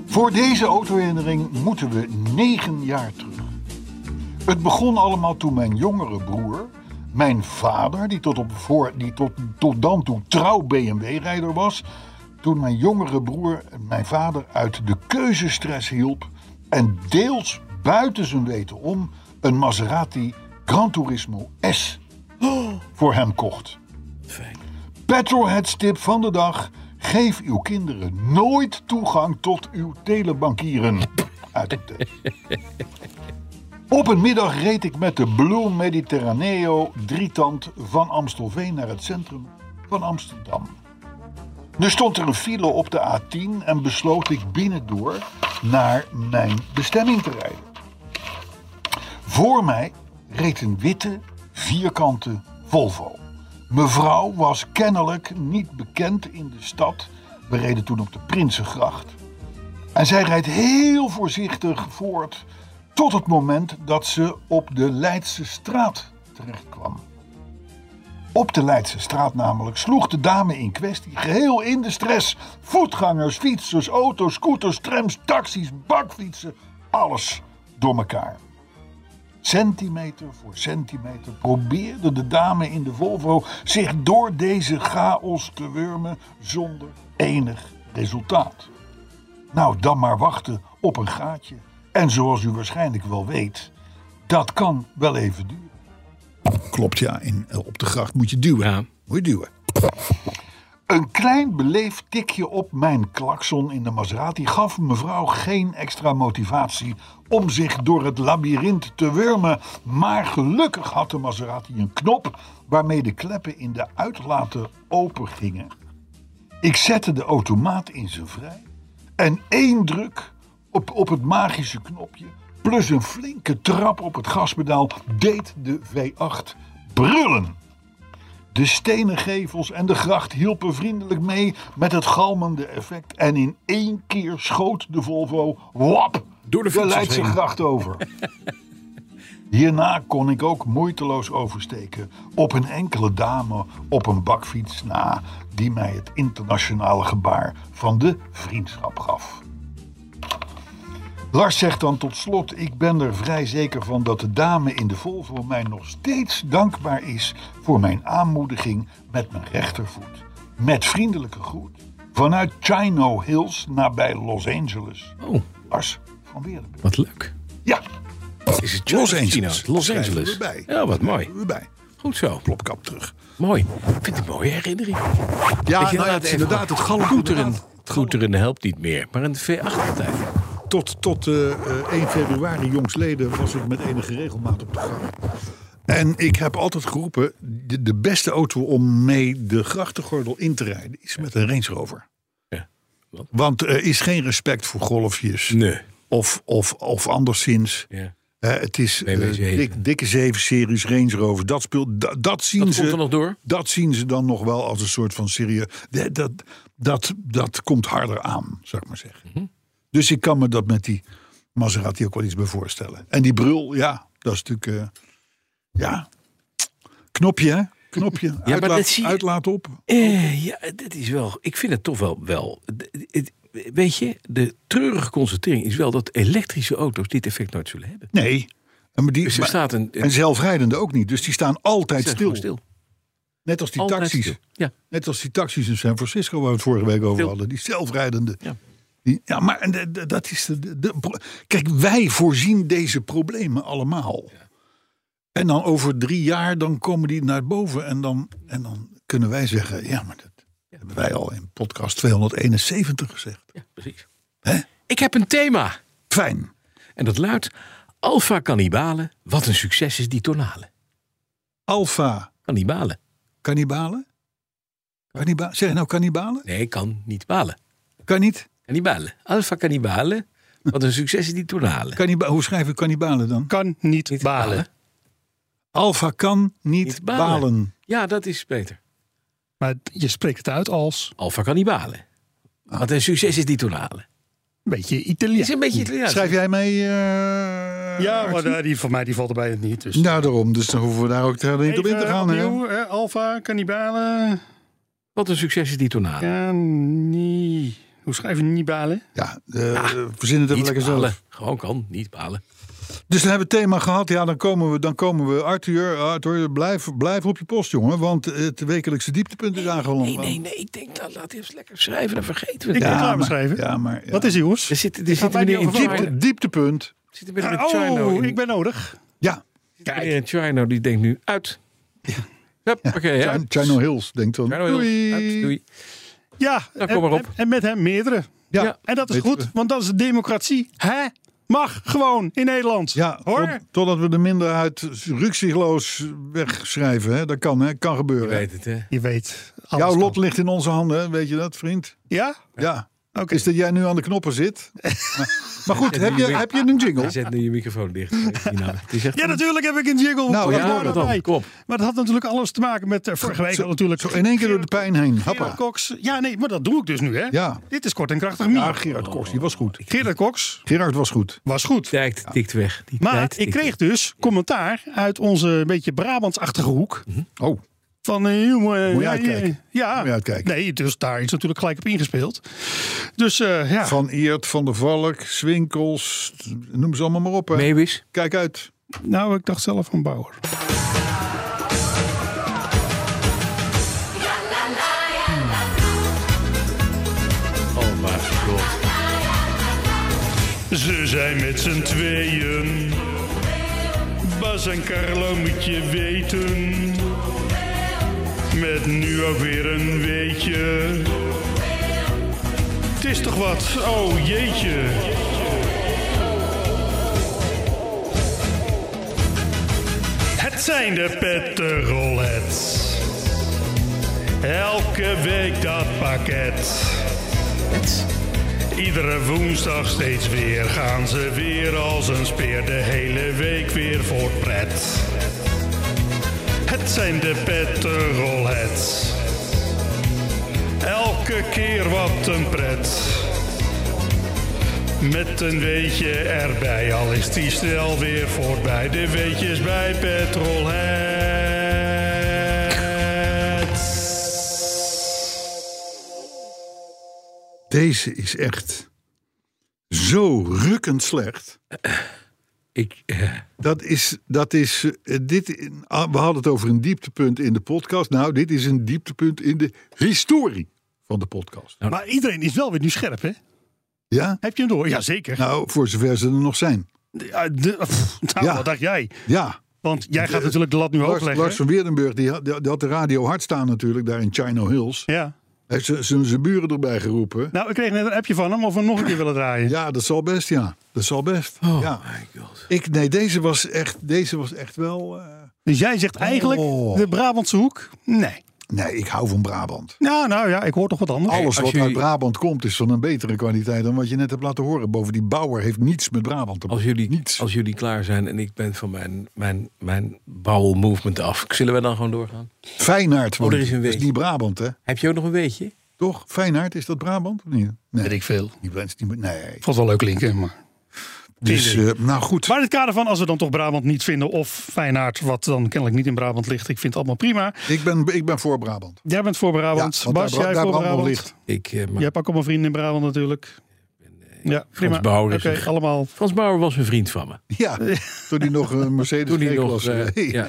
Speaker 3: Voor deze autoherinnering moeten we negen jaar terug. Het begon allemaal toen mijn jongere broer, mijn vader, die tot, op voor, die tot, tot dan toe trouw BMW-rijder was, toen mijn jongere broer mijn vader uit de keuzestress hielp en deels buiten zijn weten om een Maserati Gran Turismo S voor hem kocht. Petrolheads tip van de dag. Geef uw kinderen nooit toegang tot uw telebankieren. Uitroepteken. Op een middag reed ik met de Blue Mediterraneo drietand van Amstelveen naar het centrum van Amsterdam. Nu stond er een file op de A10 en besloot ik binnendoor naar mijn bestemming te rijden. Voor mij reed een witte, vierkante Volvo. Mevrouw was kennelijk niet bekend in de stad. We reden toen op de Prinsengracht. En zij rijdt heel voorzichtig voort tot het moment dat ze op de Leidse straat terechtkwam. Op de Leidse straat namelijk sloeg de dame in kwestie geheel in de stress. Voetgangers, fietsers, auto's, scooters, trams, taxis, bakfietsen, alles door elkaar. Centimeter voor centimeter probeerde de dame in de Volvo zich door deze chaos te wurmen zonder enig resultaat. Nou, dan maar wachten op een gaatje. En zoals u waarschijnlijk wel weet, dat kan wel even duren. Klopt, ja. In, op de gracht moet je duwen.
Speaker 2: Ja.
Speaker 3: Moet je duwen. Een klein beleefd tikje op mijn klakson in de Maserati gaf mevrouw geen extra motivatie om zich door het labyrint te wurmen. Maar gelukkig had de Maserati een knop waarmee de kleppen in de uitlaten open gingen. Ik zette de automaat in zijn vrij en één druk op, op het magische knopje, plus een flinke trap op het gaspedaal, deed de V8 brullen. De stenen gevels en de gracht hielpen vriendelijk mee met het galmende effect. En in één keer schoot de Volvo, wap,
Speaker 2: Door de fietsers
Speaker 3: Leidse
Speaker 2: heen.
Speaker 3: gracht over. Hierna kon ik ook moeiteloos oversteken op een enkele dame op een bakfiets na... die mij het internationale gebaar van de vriendschap gaf. Lars zegt dan tot slot: Ik ben er vrij zeker van dat de dame in de Volvo mij nog steeds dankbaar is voor mijn aanmoediging met mijn rechtervoet. Met vriendelijke groet vanuit Chino Hills nabij Los Angeles.
Speaker 2: Oh,
Speaker 3: Lars van Weerdenburg.
Speaker 2: wat leuk.
Speaker 3: Ja,
Speaker 2: Is het Los Angeles. Los Angeles. Ja, wat mooi.
Speaker 3: Bij.
Speaker 2: Goed zo.
Speaker 3: Plopkap terug.
Speaker 2: Mooi. Ik vind het een mooie herinnering.
Speaker 3: Ja,
Speaker 2: Dat je
Speaker 3: nou ja, het is inderdaad het galm.
Speaker 2: Goeteren, goeteren helpt niet meer, maar een V8 altijd.
Speaker 3: tot, tot eh, eh, 1 februari jongsleden was ik met enige regelmaat op de gang. En ik heb altijd geroepen, de, de beste auto om mee de grachtengordel in te rijden is met een Range Rover.
Speaker 2: Ja.
Speaker 3: Want er is geen respect voor golfjes
Speaker 2: Nee.
Speaker 3: of, of, of anderszins.
Speaker 2: Ja.
Speaker 3: Eh, het is eh,
Speaker 2: BMW zeven.
Speaker 3: dik, dikke 7 series Range Rover. Dat, speelt, da- dat zien
Speaker 2: Dat
Speaker 3: ze
Speaker 2: komt er nog door.
Speaker 3: dat zien ze dan nog wel als een soort van serieus. Dat, dat, dat, dat komt harder aan, zou ik maar zeggen.
Speaker 2: Mhm.
Speaker 3: Dus ik kan me dat met die Maserati ook wel iets bij voorstellen. En die brul, ja, dat is natuurlijk. eh, ja, knopje, hè? Knopje.
Speaker 2: maar
Speaker 3: uitlaat,
Speaker 2: dat zie je-
Speaker 3: uitlaat op.
Speaker 2: Eh, ja, dat is wel. Ik vind het toch wel. wel d- het- weet je, de treurige constatering is wel dat elektrische auto's dit effect nooit zullen hebben.
Speaker 3: Nee. En, maar die,
Speaker 2: Dus er
Speaker 3: maar-
Speaker 2: staat een.
Speaker 3: en zelfrijdende ook niet. Dus die staan altijd stil.
Speaker 2: gewoon stil.
Speaker 3: Net als die
Speaker 2: Altijd
Speaker 3: taxis.
Speaker 2: stil. Ja.
Speaker 3: Net als die taxis in San Francisco waar we het vorige week over
Speaker 2: Stil.
Speaker 3: hadden. Die zelfrijdende.
Speaker 2: Ja.
Speaker 3: Die- ja, maar en de- de- dat is. De, de- de pro- kijk, wij voorzien deze problemen allemaal. En dan over drie jaar dan komen die naar boven. En dan, en dan kunnen wij zeggen: ja, maar dat hebben wij al in podcast 271 gezegd.
Speaker 2: Ja, precies.
Speaker 3: Hè?
Speaker 2: Ik heb een thema.
Speaker 3: Fijn.
Speaker 2: En dat luidt. Alpha Cannibale, wat een succes is die tonale.
Speaker 3: Alfa
Speaker 2: Kan niet balen.
Speaker 3: Cannibalen? Canniba zeg nou cannibalen?
Speaker 2: Nee, kan niet balen.
Speaker 3: Kan niet.
Speaker 2: Cannibalen. Alpha cannibalen. Wat een succes is die toenalen.
Speaker 3: Canniba Hoe schrijf ik cannibalen dan?
Speaker 4: Kan niet,
Speaker 2: Niet
Speaker 4: balen.
Speaker 2: balen.
Speaker 3: Alfa kan niet,
Speaker 2: Niet balen.
Speaker 3: balen.
Speaker 2: Ja, dat is beter.
Speaker 4: Maar je spreekt het uit als
Speaker 2: Alpha cannibalen. Wat een succes is die toenalen.
Speaker 4: een beetje
Speaker 2: Is
Speaker 4: Italiaans.
Speaker 2: een beetje Italiaans.
Speaker 3: Schrijf jij mee? eh,
Speaker 4: Ja, maar
Speaker 3: Artsen?
Speaker 4: daar- die, voor mij die valt er bijna niet. Dus.
Speaker 3: Nou, daarom. Dus dan hoeven we daar ook verder niet op
Speaker 4: eh,
Speaker 3: in te gaan. hè?
Speaker 4: Alfa, kannibalen.
Speaker 2: Wat een succes is die toenalen.
Speaker 4: Kanni. Hoe schrijf je niet balen?
Speaker 3: Ja, eh, verzin het even
Speaker 2: Niet
Speaker 3: lekker
Speaker 2: balen.
Speaker 3: zelf.
Speaker 2: Gewoon kan, niet balen.
Speaker 3: Dus dan hebben we het thema gehad. Ja, dan komen we. Dan komen we. Arthur, eh, Arthur blijf, blijf op je post, jongen. Want het wekelijkse dieptepunt is aangeland.
Speaker 2: Nee, nee, nee. Ik denk, laat, laat even lekker schrijven. Dan vergeten we
Speaker 4: Ik
Speaker 2: het.
Speaker 4: kan
Speaker 3: Ja,
Speaker 4: klaar
Speaker 3: maar-
Speaker 4: beschrijven.
Speaker 3: Ja, maar. ja.
Speaker 4: Wat is die, jongens?
Speaker 2: Er zit, er zit
Speaker 4: mij niet
Speaker 2: meneer in
Speaker 4: over
Speaker 2: China.
Speaker 3: Diepte, dieptepunt.
Speaker 2: Er zit meneer in China.
Speaker 4: Oh,
Speaker 2: in-
Speaker 4: ik ben nodig.
Speaker 3: Ja,
Speaker 2: Meneer in China die denkt nu uit. Ja. Oké, ja.
Speaker 3: Chino Chino Hills, denkt dan.
Speaker 2: China wil-
Speaker 3: doei.
Speaker 2: uit, doei.
Speaker 4: Ja,
Speaker 2: Nou,
Speaker 4: en-
Speaker 2: kom maar op.
Speaker 4: En, en met hem meerdere.
Speaker 3: Ja,
Speaker 2: Ja.
Speaker 3: ja.
Speaker 4: En dat is
Speaker 3: Weet-
Speaker 4: goed, want dat is de democratie. Hè? Mag gewoon in Nederland. hoor.
Speaker 3: tot- totdat we de minderheid ruksigloos wegschrijven. Hè? Dat kan, hè? kan gebeuren.
Speaker 2: Je weet het, hè.
Speaker 4: Je weet. alles
Speaker 3: Jouw
Speaker 4: kan.
Speaker 3: lot ligt in onze handen, hè? weet je dat, vriend?
Speaker 4: Ja?
Speaker 3: Ja.
Speaker 4: Oké.
Speaker 3: Is dat jij nu aan de knoppen zit? maar, maar goed, heb je, heb je een
Speaker 2: Je
Speaker 3: jingle?
Speaker 2: zet nu je microfoon dicht. China. Het is echt...
Speaker 4: Ja, natuurlijk heb ik een jingle.
Speaker 3: Nou,
Speaker 4: Wat
Speaker 3: ja,
Speaker 4: hoort
Speaker 2: wat
Speaker 4: erbij?
Speaker 2: dan? Kom op.
Speaker 4: Maar dat had natuurlijk alles te maken met eh, vorige week.
Speaker 3: Zo-
Speaker 4: had natuurlijk
Speaker 3: Zo in één keer door de pijn heen.
Speaker 4: Gerard
Speaker 3: Hoppa.
Speaker 4: Cox. Ja, nee, maar dat doe ik dus nu, hè?
Speaker 3: Ja.
Speaker 4: Dit is kort en krachtig meer.
Speaker 3: Ja, Gerard Koks, die was goed.
Speaker 4: Gerard Cox
Speaker 3: Gerard was goed.
Speaker 4: was goed.
Speaker 2: Tijd tikt weg. Die
Speaker 4: Maar
Speaker 2: tijd
Speaker 4: ik
Speaker 2: tikt weg.
Speaker 4: kreeg dus commentaar uit onze een beetje Brabantsachtige hoek.
Speaker 3: Oh,
Speaker 4: Van, eh, joh, eh,
Speaker 3: Moet je
Speaker 4: ja,
Speaker 3: uitkijken.
Speaker 4: Ja,
Speaker 3: Moet je uitkijken.
Speaker 4: Nee, dus daar is natuurlijk gelijk op ingespeeld. Dus eh, ja,
Speaker 3: Van Eert, Van der Valk, Swinkels, noem ze allemaal maar op. Hè.
Speaker 2: Meewis.
Speaker 3: Kijk uit.
Speaker 4: nou, ik dacht zelf van Bauer.
Speaker 2: Oh, maar god.
Speaker 5: Ze zijn met z'n tweeën. Bas en Carlo moet je weten. Met nu ook weer een weetje. Het is toch wat, oh jeetje. Het zijn de Petterolheads. Elke week dat pakket. Iedere woensdag steeds weer gaan ze weer als een speer de hele week weer voor pret. Het zijn de Petterolheads. Elke keer wat een pret. Met een weetje erbij, al is die snel weer voorbij. De weetjes bij Petrolheads.
Speaker 3: Deze is echt zo rukkend slecht.
Speaker 2: Ik, eh,
Speaker 3: Dat is, dat is eh, dit, in- ah, we hadden het over een dieptepunt in de podcast. Nou, dit is een dieptepunt in de historie van de podcast.
Speaker 4: Maar iedereen is wel weer nu scherp, hè?
Speaker 3: Ja?
Speaker 4: Heb je hem door? Jazeker.
Speaker 3: Nou, voor zover ze er nog zijn.
Speaker 4: Ja, de- pff, nou,
Speaker 3: Ja.
Speaker 4: wat dacht jij?
Speaker 3: Ja,
Speaker 4: Want jij gaat natuurlijk de lat nu hoog
Speaker 3: Lars,
Speaker 4: leggen.
Speaker 3: Lars van Weerdenburg die had, die had de radio hard staan natuurlijk daar in Chino Hills.
Speaker 4: Ja.
Speaker 3: Hij heeft zijn buren erbij geroepen.
Speaker 4: Nou, ik kreeg net een appje van hem of we hem nog een keer willen draaien.
Speaker 3: Ja, dat zal best, ja. Dat zal best.
Speaker 2: oh
Speaker 3: ja.
Speaker 2: my god.
Speaker 3: Ik, nee, deze was echt, deze was echt wel... eh,
Speaker 4: Dus jij zegt eigenlijk
Speaker 3: Oh.
Speaker 4: de Brabantse hoek? Nee.
Speaker 3: Nee, ik hou van Brabant.
Speaker 4: Nou, nou ja, ik hoor toch wat anders.
Speaker 3: Alles
Speaker 2: als
Speaker 3: wat
Speaker 2: jullie-
Speaker 3: uit Brabant komt is van een betere kwaliteit dan wat je net hebt laten horen. Bovendien, Bauer heeft niets met Brabant te
Speaker 2: Als
Speaker 3: maken.
Speaker 2: jullie,
Speaker 3: Niets.
Speaker 2: als jullie klaar zijn en ik ben van mijn, mijn, mijn bowel movement af, zullen we dan gewoon doorgaan?
Speaker 3: Feyenoord
Speaker 2: Oh, er is
Speaker 3: want
Speaker 2: een
Speaker 3: dat
Speaker 2: weetje.
Speaker 3: niet Brabant, hè?
Speaker 2: Heb je ook nog een weetje?
Speaker 3: Toch? Feyenoord, is dat Brabant of niet? Nee,
Speaker 4: Weet ik veel.
Speaker 3: die mensen die- nee.
Speaker 4: Vond wel leuk klinken, maar...
Speaker 3: Dus, eh, nou goed.
Speaker 4: Maar in het kader van, als we dan toch Brabant niet vinden... of Feyenoord, wat dan kennelijk niet in Brabant ligt... ik vind het allemaal prima.
Speaker 3: Ik ben, ik ben voor Brabant.
Speaker 4: Jij bent voor Brabant.
Speaker 3: Ja, want
Speaker 4: Bas,
Speaker 3: daar bra-
Speaker 4: jij
Speaker 3: daar
Speaker 4: voor
Speaker 3: brandt nog
Speaker 4: Brabant.
Speaker 3: licht.
Speaker 2: Ik, eh, maar
Speaker 4: Jij hebt ook allemaal vrienden in Brabant natuurlijk. Ja, prima.
Speaker 2: Bauer
Speaker 4: Oké,
Speaker 2: is een-
Speaker 4: allemaal.
Speaker 2: Frans Bauer was een vriend van me.
Speaker 3: Ja, toen hij nog een Mercedes
Speaker 2: Toen hij nog...
Speaker 3: G-klasse-
Speaker 2: eh, ja.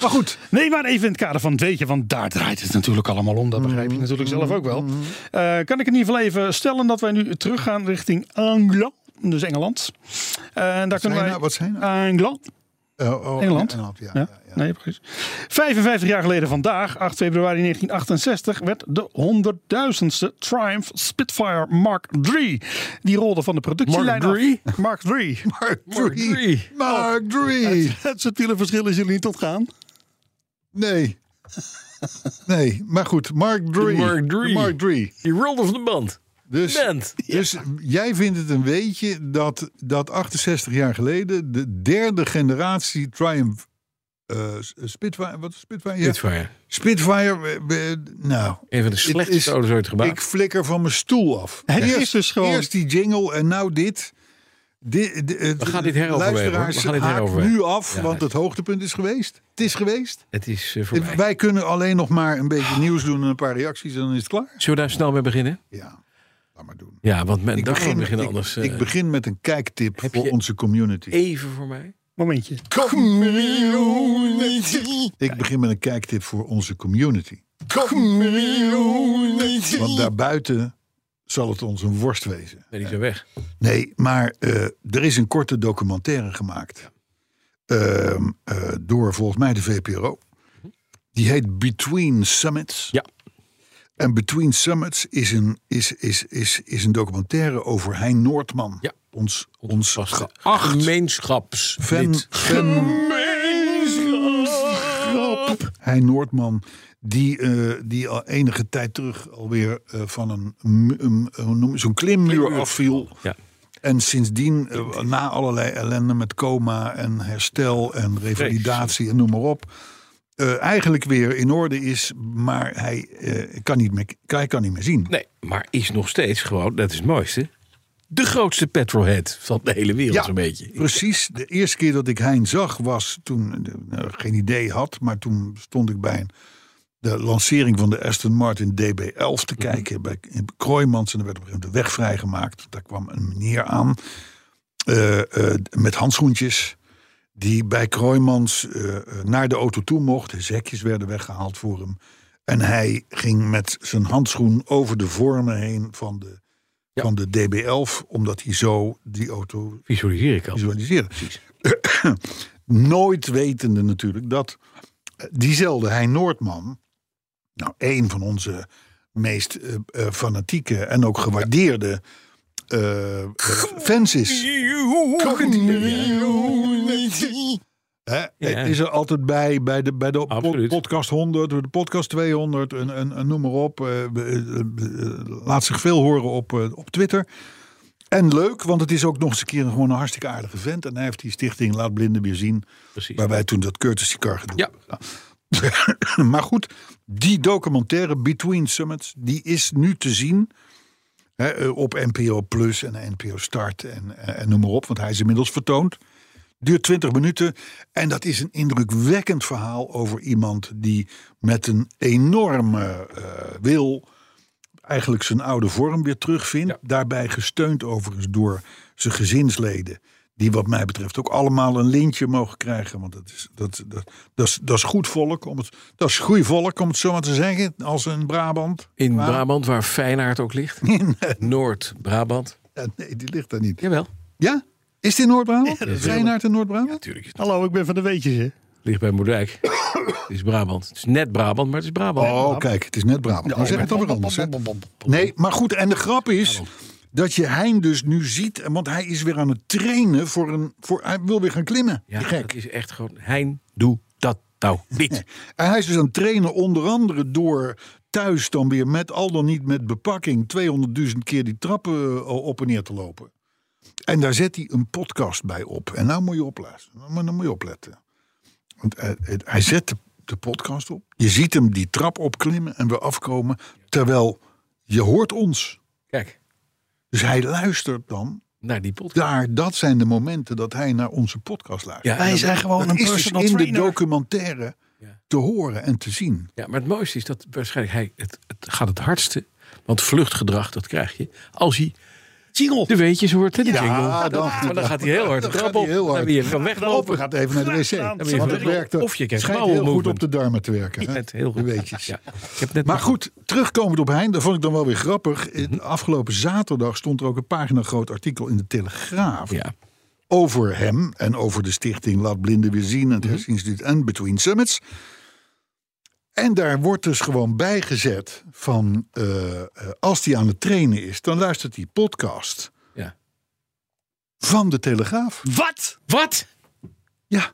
Speaker 3: Maar goed,
Speaker 4: Nee, maar even in het kader van, weet je, want daar draait het natuurlijk allemaal om. Dat begrijp
Speaker 3: Mm-hmm.
Speaker 4: je natuurlijk zelf ook wel. Eh, kan ik in ieder geval even stellen dat wij nu teruggaan richting Anglo, dus Engeland. Eh, en daar kunnen
Speaker 3: zijn
Speaker 4: wij...
Speaker 3: nou- wat zijn nou?
Speaker 4: Anglo.
Speaker 3: Eh, oh,
Speaker 4: Engeland?
Speaker 3: ja,
Speaker 4: Ja,
Speaker 3: ja, ja.
Speaker 4: nee, precies. 55 jaar geleden vandaag, 8 februari 1968, werd de 100.000ste Triumph Spitfire Mark III. Die rolde van de productielijn
Speaker 2: Mark III?
Speaker 4: af. Mark III.
Speaker 3: Mark
Speaker 2: III.
Speaker 3: 3. Mark 3.
Speaker 4: Het subtiele verschil is jullie niet ontgaan.
Speaker 3: Nee. Nee, maar goed. Mark 3.
Speaker 2: Mark III.
Speaker 3: Mark 3.
Speaker 2: Die rolde van de band.
Speaker 3: Dus,
Speaker 2: Bent.
Speaker 3: dus jij vindt het een weetje dat, dat 68 jaar geleden de derde generatie Triumph eh, Spitfire, wat is Spitfire? Ja.
Speaker 2: Dit voor je.
Speaker 3: Spitfire, eh, eh, nou.
Speaker 2: Een van de
Speaker 3: het
Speaker 2: slechtste
Speaker 3: is-
Speaker 2: auto's ooit gebouwd.
Speaker 3: Ik flikker van mijn stoel af.
Speaker 4: Het is dus gewoon-
Speaker 3: Eerst die jingle en nou dit. Di- di- het-
Speaker 2: We gaan dit heroverwegen,
Speaker 3: Luisteraars,
Speaker 2: hoor. We gaan dit
Speaker 3: haakt
Speaker 2: heroverwegen.
Speaker 3: nu af,
Speaker 2: Ja,
Speaker 3: want het hoogtepunt is geweest. Het is geweest.
Speaker 2: Het is eh, voorbij.
Speaker 3: Wij kunnen alleen nog maar een beetje nieuws doen en een paar reacties en dan is het klaar.
Speaker 2: Zullen we daar snel mee beginnen?
Speaker 3: Ja, laat maar doen.
Speaker 2: Ja, want men
Speaker 3: Ik
Speaker 2: dan gaan we
Speaker 3: begin,
Speaker 2: beginnen
Speaker 3: ik-
Speaker 2: anders.
Speaker 3: ik,
Speaker 2: eh,
Speaker 3: begin met een kijktip
Speaker 2: heb
Speaker 3: voor
Speaker 2: je-
Speaker 3: onze community.
Speaker 2: even voor mij.
Speaker 4: Momentje.
Speaker 3: Ik begin met een kijktip voor onze community. Want daarbuiten zal het ons een worst wezen.
Speaker 2: Nee, die zijn weg.
Speaker 3: Nee, maar eh, er is een korte documentaire gemaakt. Ehm, eh, door volgens mij de VPRO. Die heet Between Summits.
Speaker 2: Ja.
Speaker 3: En Between Summits is een, is, is, is, is een documentaire over Hein Noordman.
Speaker 2: Ja.
Speaker 3: Ons, ons
Speaker 2: Vaste
Speaker 3: geacht
Speaker 2: gemeenschaps.
Speaker 3: fan,
Speaker 2: lid.
Speaker 3: fan, Hein Noordman, die, eh, die al enige tijd terug alweer eh, van een, mu- een- hoe noem je- zo'n klimmuur afviel.
Speaker 2: Ja.
Speaker 3: En sindsdien, eh, na allerlei ellende met coma en herstel en revalidatie en noem maar op. eh, eigenlijk weer in orde is, maar hij, eh, kan, niet meer, hij kan niet meer zien.
Speaker 2: Nee, maar is nog steeds gewoon, dat is het mooiste, de grootste petrolhead van de hele wereld een beetje.
Speaker 3: Precies. De eerste keer dat ik Hein zag was toen eh, nou, geen idee had, maar toen stond ik bij een, de lancering van de Aston Martin DB11
Speaker 2: Mhm.
Speaker 3: te kijken bij in Kroijmans en er werd op een gegeven moment de weg vrijgemaakt. Daar kwam een meneer aan eh, eh, met handschoentjes. Die bij Kroijmans eh, eh, naar de auto toe mocht. De zekjes werden weggehaald voor hem. En hij ging met zijn handschoen over de vormen heen van de,
Speaker 2: Ja.
Speaker 3: van de DB11. Omdat hij zo die auto
Speaker 2: Visualiseer ik al.
Speaker 3: visualiseren. Nooit wetende natuurlijk dat eh, diezelfde Hein Noordman, nou een van onze meest eh, eh, fanatieke en ook gewaardeerde eh, eh, fans is. Hè, het is er altijd bij, bij de, bij de po-
Speaker 2: Absoluut.
Speaker 3: podcast 100, de podcast 200 en, en, en noem maar op. Eh, eh, eh, eh, laat zich veel horen op, eh, op Twitter. En leuk, want het is ook nog eens een keer een- gewoon een hartstikke aardige vent. En hij heeft die stichting Laat Blinden Weer Zien.
Speaker 2: Precies.
Speaker 3: Waar wij toen dat courtesy car gedoe
Speaker 2: Ja.
Speaker 3: ja. maar goed, die documentaire Between Summits, die is nu te zien. Hè, eh, op NPO Plus en NPO Start en, eh, en noem maar op. Want hij is inmiddels vertoond. Duurt 20 minuten. En dat is een indrukwekkend verhaal over iemand die met een enorme eh, wil eigenlijk zijn oude vorm weer terugvindt. Daarbij gesteund overigens door zijn gezinsleden. Die wat mij betreft ook allemaal een lintje mogen krijgen. Want dat is, dat, dat, dat is, dat is goed volk. Om het, dat is goed volk, om het zo maar te zeggen. Als in Brabant.
Speaker 2: In
Speaker 3: Maar-
Speaker 2: Brabant, waar Feyenaard ook ligt. Noord-Brabant.
Speaker 3: Ja, nee, die ligt daar niet.
Speaker 2: Jawel.
Speaker 3: Ja? Is dit in Noord-Brabant? Reinhard in Noord-Brabant?
Speaker 2: Natuurlijk is het.
Speaker 4: Hallo, ik ben van de weetjes. hè.
Speaker 2: Ligt bij Moerdijk. het is Brabant. Het is net Brabant, maar het is Brabant.
Speaker 3: Oh, kijk, het is net Brabant. Dan zeg het dan weer anders. Hè? Nee, maar goed, en de grap is dat je Hein dus nu ziet, want hij is weer aan het trainen voor een. Voor, hij wil weer gaan klimmen.
Speaker 2: ja,
Speaker 3: Die gek.
Speaker 2: dat is echt gewoon. Hein, doe dat nou niet.
Speaker 3: En hij is dus aan het trainen, onder andere door thuis dan weer met al dan niet met bepakking 200.000 keer die trappen eh, op en neer te lopen. En daar zet hij een podcast bij op. En nou moet je opluisteren. Nou, moet- nou moet je opletten. Want hij, hij- hij zet de, de podcast op. Je ziet hem die trap opklimmen en weer afkomen. Terwijl je hoort ons.
Speaker 2: Kijk,
Speaker 3: Dus hij luistert dan.
Speaker 2: naar die podcast.
Speaker 3: Daar, dat zijn de momenten dat hij naar onze podcast luistert.
Speaker 2: Ja, en dat-
Speaker 4: gewoon
Speaker 3: dat is dus in de
Speaker 4: trainer.
Speaker 3: documentaire
Speaker 2: Ja.
Speaker 3: te horen en te zien.
Speaker 2: Ja, maar het mooiste is dat waarschijnlijk hij het, het gaat het hardste. Want vluchtgedrag, dat krijg je. Als hij de weetjes hoort, hè, de
Speaker 3: Ja,
Speaker 2: jingle.
Speaker 3: dan-
Speaker 2: maar dan gaat hij heel hard de
Speaker 3: Dan
Speaker 2: trap
Speaker 3: gaat hij
Speaker 2: op.
Speaker 3: heel
Speaker 2: Dan
Speaker 3: hard.
Speaker 2: ben je van
Speaker 3: Lopen
Speaker 2: weglopen.
Speaker 3: gaat even naar de wc.
Speaker 2: even
Speaker 3: Want het
Speaker 2: weg.
Speaker 3: werkt ook.
Speaker 2: Of je krijgt
Speaker 3: schijnt
Speaker 2: bowel
Speaker 3: heel goed op
Speaker 2: movement.
Speaker 3: de darmen te werken. hè?
Speaker 2: Net heel
Speaker 3: De
Speaker 2: goed.
Speaker 3: weetjes.
Speaker 2: Ja, ik heb net
Speaker 3: Maar goed, terugkomend op Hein, dat vond ik dan wel weer Eh,
Speaker 2: Mhm.
Speaker 3: grappig. In- Afgelopen zaterdag stond er ook een pagina groot artikel in de Telegraaf.
Speaker 2: Ja,
Speaker 3: over hem en over de stichting Laat Blinden Weer Zien en
Speaker 2: Mhm.
Speaker 3: het Herseninstituut en Between Summits. En daar wordt dus gewoon bijgezet van eh, eh, als hij aan het trainen is, dan luistert hij podcast
Speaker 2: Ja.
Speaker 3: van de Telegraaf.
Speaker 2: Mhm.
Speaker 4: Wat?
Speaker 2: Wat?
Speaker 3: Ja,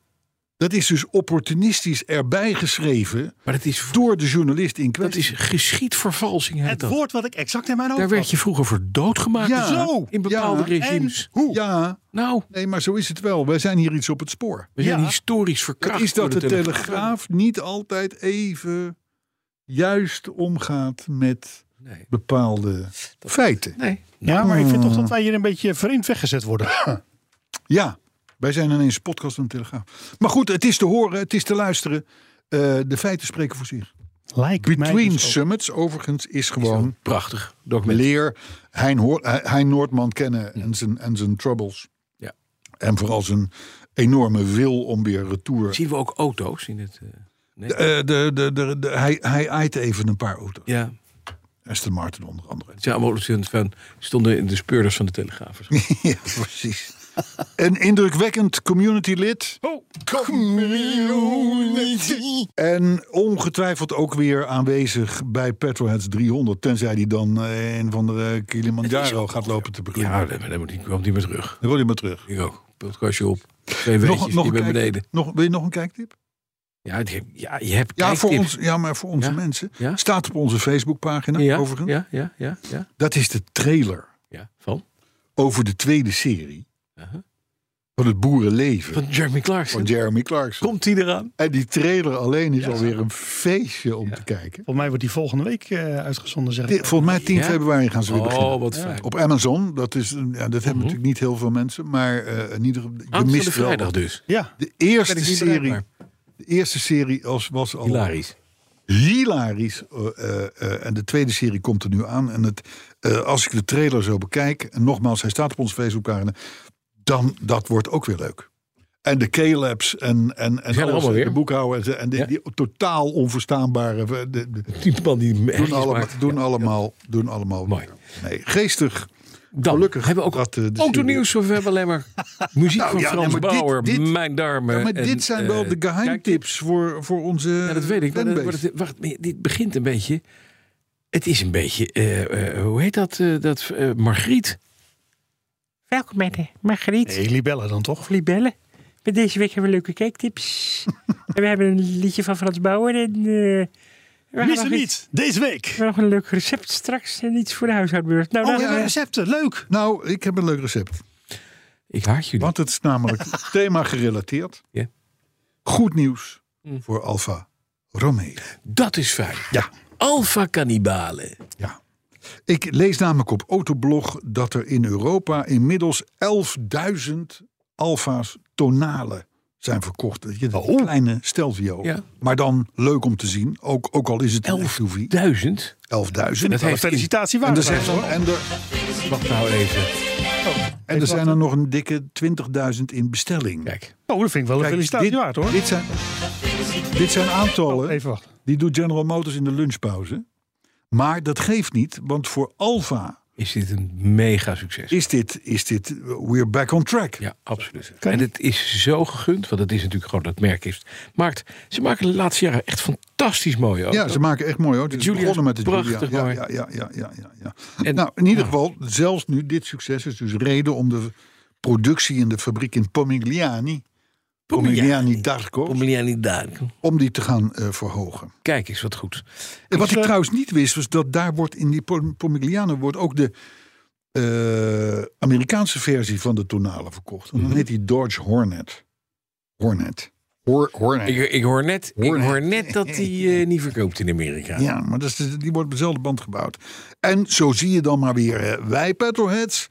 Speaker 3: dat is dus opportunistisch erbij geschreven
Speaker 2: Maar dat is,
Speaker 3: door de journalist in
Speaker 2: dat
Speaker 3: kwestie.
Speaker 2: is geschiedvervalsing. heet
Speaker 4: Het
Speaker 2: dat.
Speaker 4: woord wat ik exact in mijn hoofd
Speaker 2: Daar werd
Speaker 4: had.
Speaker 2: je vroeger voor doodgemaakt.
Speaker 3: Ja,
Speaker 2: Zo, in bepaalde
Speaker 3: ja.
Speaker 2: regimes.
Speaker 4: En hoe?
Speaker 3: Ja,
Speaker 2: Nou,
Speaker 3: nee, maar zo is het wel. Wij zijn hier iets op het spoor.
Speaker 2: we zijn
Speaker 4: Ja.
Speaker 2: historisch
Speaker 3: Het
Speaker 2: verkracht.
Speaker 3: is dat de
Speaker 2: door
Speaker 3: Telegraaf niet altijd even juist omgaat met
Speaker 2: Nee.
Speaker 3: bepaalde feiten.
Speaker 2: Nee.
Speaker 4: Ja, maar ik vind toch dat wij hier een beetje vreemd weggezet worden.
Speaker 3: Ja, wij zijn ineens een podcast van de Telegraaf. Maar goed, het is te horen, het is te luisteren. Eh, de feiten spreken voor zich.
Speaker 4: Lijkt mij
Speaker 3: Between
Speaker 4: dus ook.
Speaker 3: Summits, overigens, is gewoon
Speaker 2: Prachtig document.
Speaker 3: leer Hein, Hoor- Hein Noordman kennen en, zijn, en zijn troubles.
Speaker 2: Ja.
Speaker 3: En vooral zijn enorme wil om weer retour.
Speaker 2: Zien we ook auto's in het... eh, nee?
Speaker 3: Eh, de, de, de, de- hij, hij aait even een paar auto's.
Speaker 2: ja,
Speaker 3: Aston Martin onder andere.
Speaker 2: het zijn allemaal studenten van, stonden in de speurders van de Telegraaf.
Speaker 3: Ja, precies. Een indrukwekkend community-lid.
Speaker 4: Oh,
Speaker 3: community. En ongetwijfeld ook weer aanwezig bij Petrolheads 300. Tenzij die dan eh, een van de Kilimanjaro gaat lopen te beklimmen.
Speaker 2: Ja, daar daar moet ik komt niet meer terug.
Speaker 3: Dan wil je maar terug.
Speaker 2: Ik ook. Podcastje op. Twee weetjes, nog,
Speaker 3: een
Speaker 2: ben
Speaker 3: kijk-
Speaker 2: beneden.
Speaker 3: nog, wil je nog een kijktip?
Speaker 2: Ja, het- ja, je hebt
Speaker 3: Ja, voor
Speaker 2: kijktips.
Speaker 3: ons, ja maar voor onze
Speaker 2: Ja?
Speaker 3: mensen.
Speaker 2: Ja?
Speaker 3: Staat op onze Facebookpagina
Speaker 2: Ja,
Speaker 3: overigens.
Speaker 2: ja, ja, ja, ja,
Speaker 3: Dat is de trailer
Speaker 2: ja. Van?
Speaker 3: over de tweede serie
Speaker 2: Aha.
Speaker 3: van het boerenleven
Speaker 2: Van Jeremy Clarkson.
Speaker 3: van Jeremy Clarkson.
Speaker 2: Komt hij eraan?
Speaker 3: En die trailer alleen is alweer een feestje om te kijken.
Speaker 4: Volgens mij wordt die volgende week eh, uitgezonden, zeg
Speaker 3: Dit-
Speaker 4: ik.
Speaker 3: Volgens mij 10
Speaker 2: Ja?
Speaker 3: februari gaan ze weer beginnen.
Speaker 2: Oh, wat fijn. Mhm.
Speaker 3: Op Amazon, dat, is, een- ja, dat hebben natuurlijk niet heel veel mensen. Maar eh in ieder geval, je
Speaker 2: Aanstaande
Speaker 3: mist wel.
Speaker 2: vrijdag dus.
Speaker 4: Ja,
Speaker 3: De
Speaker 2: Ben
Speaker 3: eerste
Speaker 2: ik niet
Speaker 3: serie,
Speaker 2: bereikbaar.
Speaker 3: de eerste serie als, was al
Speaker 2: Hilarisch.
Speaker 3: hilarisch. Eh, eh, eh, en de tweede serie komt er nu aan. En het, eh, als ik de trailer zo bekijk, en nogmaals, hij staat op onze Facebookpagina, dan dat wordt ook weer leuk. En de K-labs en, en, en
Speaker 2: er
Speaker 3: alles,
Speaker 2: allemaal weer.
Speaker 3: de boekhouden en, ze- en die,
Speaker 2: Ja.
Speaker 3: die totaal onverstaanbare. de- de-
Speaker 2: Die man die
Speaker 3: doen,
Speaker 2: herrie
Speaker 3: allemaal,
Speaker 2: maakt.
Speaker 3: doen,
Speaker 2: Ja.
Speaker 3: allemaal, doen allemaal.
Speaker 2: Mooi.
Speaker 3: Nee, geestig.
Speaker 2: Dan
Speaker 3: Gelukkig
Speaker 2: hebben we ook
Speaker 3: dat, eh, de
Speaker 2: autonieuws of we hebben alleen maar muziek
Speaker 3: Nou
Speaker 2: van
Speaker 3: ja,
Speaker 2: Frans
Speaker 3: nee, maar dit-
Speaker 2: Bauer,
Speaker 3: dit-
Speaker 2: mijn darmen.
Speaker 3: Ja, maar
Speaker 2: en,
Speaker 3: dit zijn wel
Speaker 2: eh,
Speaker 3: de geheimtips voor, voor onze.
Speaker 2: Ja, dat weet ik. Maar, dat- maar
Speaker 3: fanbase.
Speaker 2: dat- wacht, maar dit begint een beetje. Het is een beetje. eh, eh, hoe heet dat? eh, dat eh, Margriet.
Speaker 6: Welkom bij de Margriet.
Speaker 4: nee, libellen dan toch?
Speaker 6: Of libellen. Met deze week hebben we leuke kijktips. en we hebben een liedje van Frans Bauer. En, eh, we gaan
Speaker 4: Mis
Speaker 6: nog
Speaker 4: hem
Speaker 6: iets-
Speaker 4: niet, deze week.
Speaker 6: We hebben nog een leuk recept straks en iets voor de huishoudbeurt. Nou,
Speaker 4: Oh,
Speaker 6: laten
Speaker 4: ja,
Speaker 6: we-
Speaker 4: recepten, leuk.
Speaker 3: Nou, ik heb een leuk recept.
Speaker 2: Ik haat jullie.
Speaker 3: Want het is namelijk thema gerelateerd.
Speaker 2: Ja. Hm.
Speaker 3: Goed nieuws voor Alfa Romeo.
Speaker 2: Dat is fijn.
Speaker 3: Ja.
Speaker 2: Alpha Cannibalen.
Speaker 3: ja. Ik lees namelijk op Autoblog dat er in Europa inmiddels 11.000 Alfa's tonalen zijn verkocht. Dat je dat kleine stelvio.
Speaker 2: Oh. Ja.
Speaker 3: Maar dan leuk om te zien. Ook, ook al is het een SUV. 11.000.
Speaker 2: 11.000. Dat
Speaker 4: Nou,
Speaker 2: heeft
Speaker 4: felicitatie
Speaker 3: En
Speaker 4: waard.
Speaker 3: er zijn
Speaker 4: zijn
Speaker 3: er, en er, Oh.
Speaker 2: Wacht nou even.
Speaker 3: en er, zijn er nog een dikke 20.000 in bestelling.
Speaker 2: Kijk.
Speaker 4: Oh, dat vind ik wel een
Speaker 3: Kijk,
Speaker 4: felicitatie
Speaker 3: dit-
Speaker 4: waard, hoor. Oh,
Speaker 3: Dit zijn, dit zijn aantallen.
Speaker 4: Even wachten.
Speaker 3: Die doet General Motors in de lunchpauze. Maar dat geeft niet, want voor Alfa
Speaker 2: Is dit een mega succes?
Speaker 3: is dit, is dit eh, we're back on track.
Speaker 2: Ja, absoluut.
Speaker 4: Kan je-
Speaker 2: En het is zo gegund, want het is natuurlijk gewoon dat merk heeft. Maakt, ze maken de laatste jaren echt fantastisch mooie auto's.
Speaker 3: Ja, ze maken echt mooi hoor. Het is
Speaker 2: Julia is
Speaker 3: begonnen met de
Speaker 2: prachtig
Speaker 3: Julia.
Speaker 2: mooi.
Speaker 3: Ja, ja, ja, ja, ja, ja.
Speaker 2: En-
Speaker 3: nou, in ieder geval, zelfs nu, dit succes is dus reden om de productie in de fabriek in Pomigliani, Pomigliani d'Arco,
Speaker 2: Pomigliani daar.
Speaker 3: om die te gaan eh, verhogen.
Speaker 2: Kijk eens wat goed.
Speaker 3: En wat ik trouwens niet wist, was dat daar wordt in die Pom- Pomigliano wordt ook de eh, Amerikaanse versie van de tonale verkocht. En dan
Speaker 2: Mhm.
Speaker 3: heet die Dodge Hornet. Hornet. Hor- Hornet.
Speaker 2: Ik, ik, hoor, net,
Speaker 3: Hoor
Speaker 2: ik
Speaker 3: net.
Speaker 2: hoor net dat die eh, niet verkoopt in Amerika.
Speaker 3: Ja, maar dat is, die wordt op dezelfde band gebouwd. En zo zie je dan maar weer, eh, wij petrolheads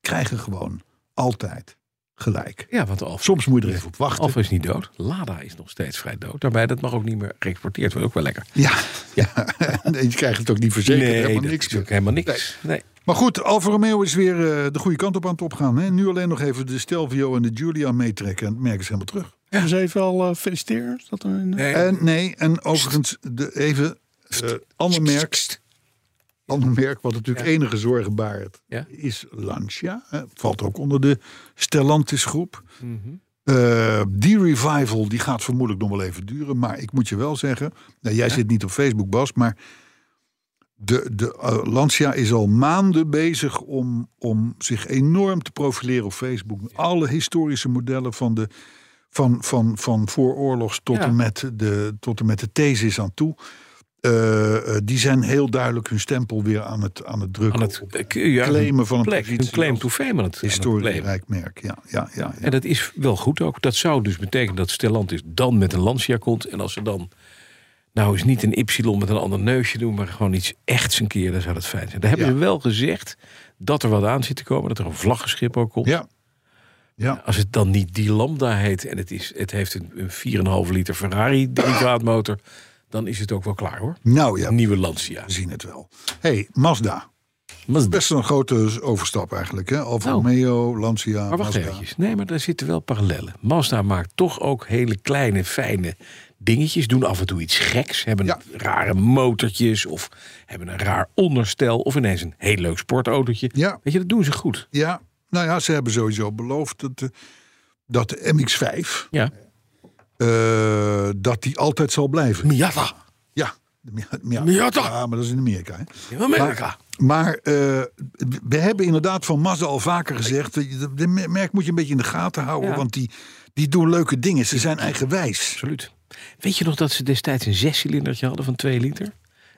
Speaker 3: krijgen gewoon altijd gelijk.
Speaker 2: Ja, want Alfa,
Speaker 3: Soms moet je er even op wachten.
Speaker 2: Alfa is niet dood. Lada is nog steeds vrij dood. Daarbij, dat mag ook niet meer geëxporteerd worden. Ook wel lekker.
Speaker 3: Ja, ja. nee, je krijgt het ook niet verzekerd.
Speaker 2: dat
Speaker 3: helemaal niks.
Speaker 2: is ook helemaal niks. Nee.
Speaker 3: Maar goed, Alfa Romeo is weer eh, de goede kant op aan het opgaan. Hè? Nu alleen nog even de Stelvio en de Giulia meetrekken. En het merk is helemaal terug.
Speaker 4: Dus even al eh feliciteren. Is dat een...
Speaker 2: Nee.
Speaker 3: En nee, en overigens de, even eh ander merk. eh, Ander merk wat natuurlijk
Speaker 2: Ja.
Speaker 3: enige zorgen baart
Speaker 2: Ja.
Speaker 3: is Lancia. Eh, Valt ook onder de Stellantis groep. Eh, die revival die gaat vermoedelijk nog wel even duren. Maar ik moet je wel zeggen, nou, jij zit niet op Facebook Bas, maar de, de eh, Lancia is al maanden bezig om, om zich enorm te profileren op Facebook. Alle historische modellen van de van, van, van vooroorlogs tot,
Speaker 2: Ja.
Speaker 3: en met de, tot en met de thesis aan toe. eh, eh, die zijn heel duidelijk hun stempel weer aan het, aan het drukken.
Speaker 2: Aan het
Speaker 3: op
Speaker 2: eh, ja,
Speaker 3: claimen van een
Speaker 2: plek,
Speaker 3: positie
Speaker 2: een claim
Speaker 3: als
Speaker 2: to fame aan het, aan het claimen.
Speaker 3: historierijk merk. Ja, ja, ja, ja.
Speaker 2: En dat is wel goed ook. Dat zou dus betekenen dat Stellantis dan met een Lancia komt. En als ze dan nou eens niet een Y met een ander neusje doen... maar gewoon iets echts een keer, dan zou dat fijn zijn. Daar hebben
Speaker 3: Ja.
Speaker 2: ze wel gezegd dat er wat aan zit te komen. Dat er een vlaggenschip ook komt.
Speaker 3: ja. ja.
Speaker 2: Als het dan niet die Lambda heet en het, is, het heeft een, een 4,5 liter Ferrari derivaatmotor... dan is het ook wel klaar hoor.
Speaker 3: Nou ja,
Speaker 2: Nieuwe Lancia.
Speaker 3: we zien het wel. hey, Mazda.
Speaker 2: Mazda.
Speaker 3: Best een grote overstap eigenlijk. Hè? Alfa
Speaker 2: Nou.
Speaker 3: Romeo, Lancia,
Speaker 2: Maar wacht
Speaker 3: Mazda.
Speaker 2: eventjes. Nee, maar daar zitten wel parallellen. Mazda maakt toch ook hele kleine, fijne dingetjes. Doen af en toe iets geks. Hebben
Speaker 3: Ja.
Speaker 2: rare motortjes. Of hebben een raar onderstel. Of ineens een heel leuk sportautootje.
Speaker 3: Ja.
Speaker 2: Weet je, dat doen ze goed.
Speaker 3: Ja, nou ja, ze hebben sowieso beloofd dat de, dat de MX-5...
Speaker 2: Ja.
Speaker 3: eh, dat die altijd zal blijven.
Speaker 2: Miata.
Speaker 3: Ja, de Mi- Mi-
Speaker 2: Miata.
Speaker 3: Ja, maar dat is in Amerika. Hè?
Speaker 2: In Amerika.
Speaker 3: Maar eh, we hebben inderdaad van Mazda al vaker gezegd... eh, dat je- dat merk moet je een beetje in de gaten houden...
Speaker 2: Ja.
Speaker 3: want die, die doen leuke dingen. Ze zijn eigenwijs.
Speaker 2: Absoluut. Weet je nog dat ze destijds een zescilindertje hadden van 2 liter?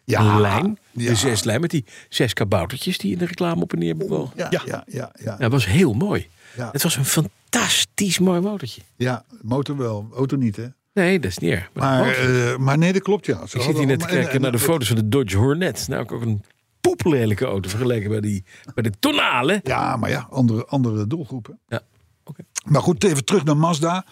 Speaker 3: Ja.
Speaker 2: Een lijn.
Speaker 3: Ja.
Speaker 2: Een zeslijn met die zes kaboutertjes die in de reclame op en neer bewogen.
Speaker 3: Ja, ja, ja. ja, ja.
Speaker 2: dat was heel mooi.
Speaker 3: Ja.
Speaker 2: Het was een fantastisch mooi motortje.
Speaker 3: motor wel, auto niet hè.
Speaker 2: Nee, dat is niet erg. het
Speaker 3: Maar,
Speaker 2: motortje.
Speaker 3: eh, maar nee, dat klopt ja. Ze
Speaker 2: Ik zit
Speaker 3: hadden
Speaker 2: hier net te
Speaker 3: allemaal- en-
Speaker 2: kijken
Speaker 3: en-
Speaker 2: naar de
Speaker 3: en-
Speaker 2: foto's van de Dodge Hornet. Nou, ook een poeplelijke auto vergeleken bij, die, bij de Tonale.
Speaker 3: Ja, maar ja, andere, andere doelgroepen.
Speaker 2: Ja, oké.
Speaker 3: Maar goed, even terug naar Mazda.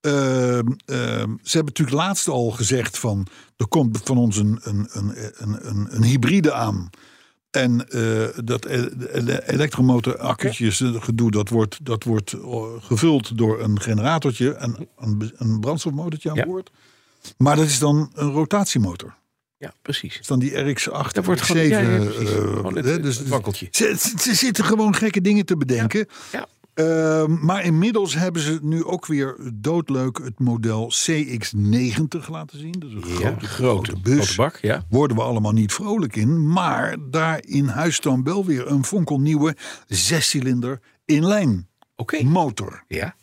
Speaker 3: Ehm, ehm, ze hebben natuurlijk laatst al gezegd van... er komt van ons een, een, een, een, een, een hybride aan. En eh, dat e- ele- elektromotoraccu'tjes, eh, gedoe, dat wordt, dat wordt eh, gevuld door een generatortje... en een, be- een brandstofmotortje aan
Speaker 2: Ja.
Speaker 3: boord. Maar dat is dan een rotatiemotor.
Speaker 2: Ja, precies.
Speaker 3: Dat is dan die RX-8,
Speaker 2: Dat wordt
Speaker 3: RX-7.
Speaker 2: gewoon- ja, ja, precies.
Speaker 3: eh,
Speaker 2: Gewoon het-
Speaker 3: hè,
Speaker 2: het
Speaker 3: dus- dus-
Speaker 2: wakkeltje.
Speaker 3: Ze, ze- ze zitten gewoon gekke dingen te bedenken.
Speaker 2: Ja.
Speaker 3: Ehm, maar inmiddels hebben ze nu ook weer doodleuk het model CX90 laten zien. Dat is een grote, grote bus.
Speaker 2: Grote bak, ja.
Speaker 3: Worden we allemaal niet vrolijk in. Maar daar in huis dan wel weer een fonkelnieuwe zescilinder inlijn
Speaker 2: Oké.
Speaker 3: motor.
Speaker 2: Ja.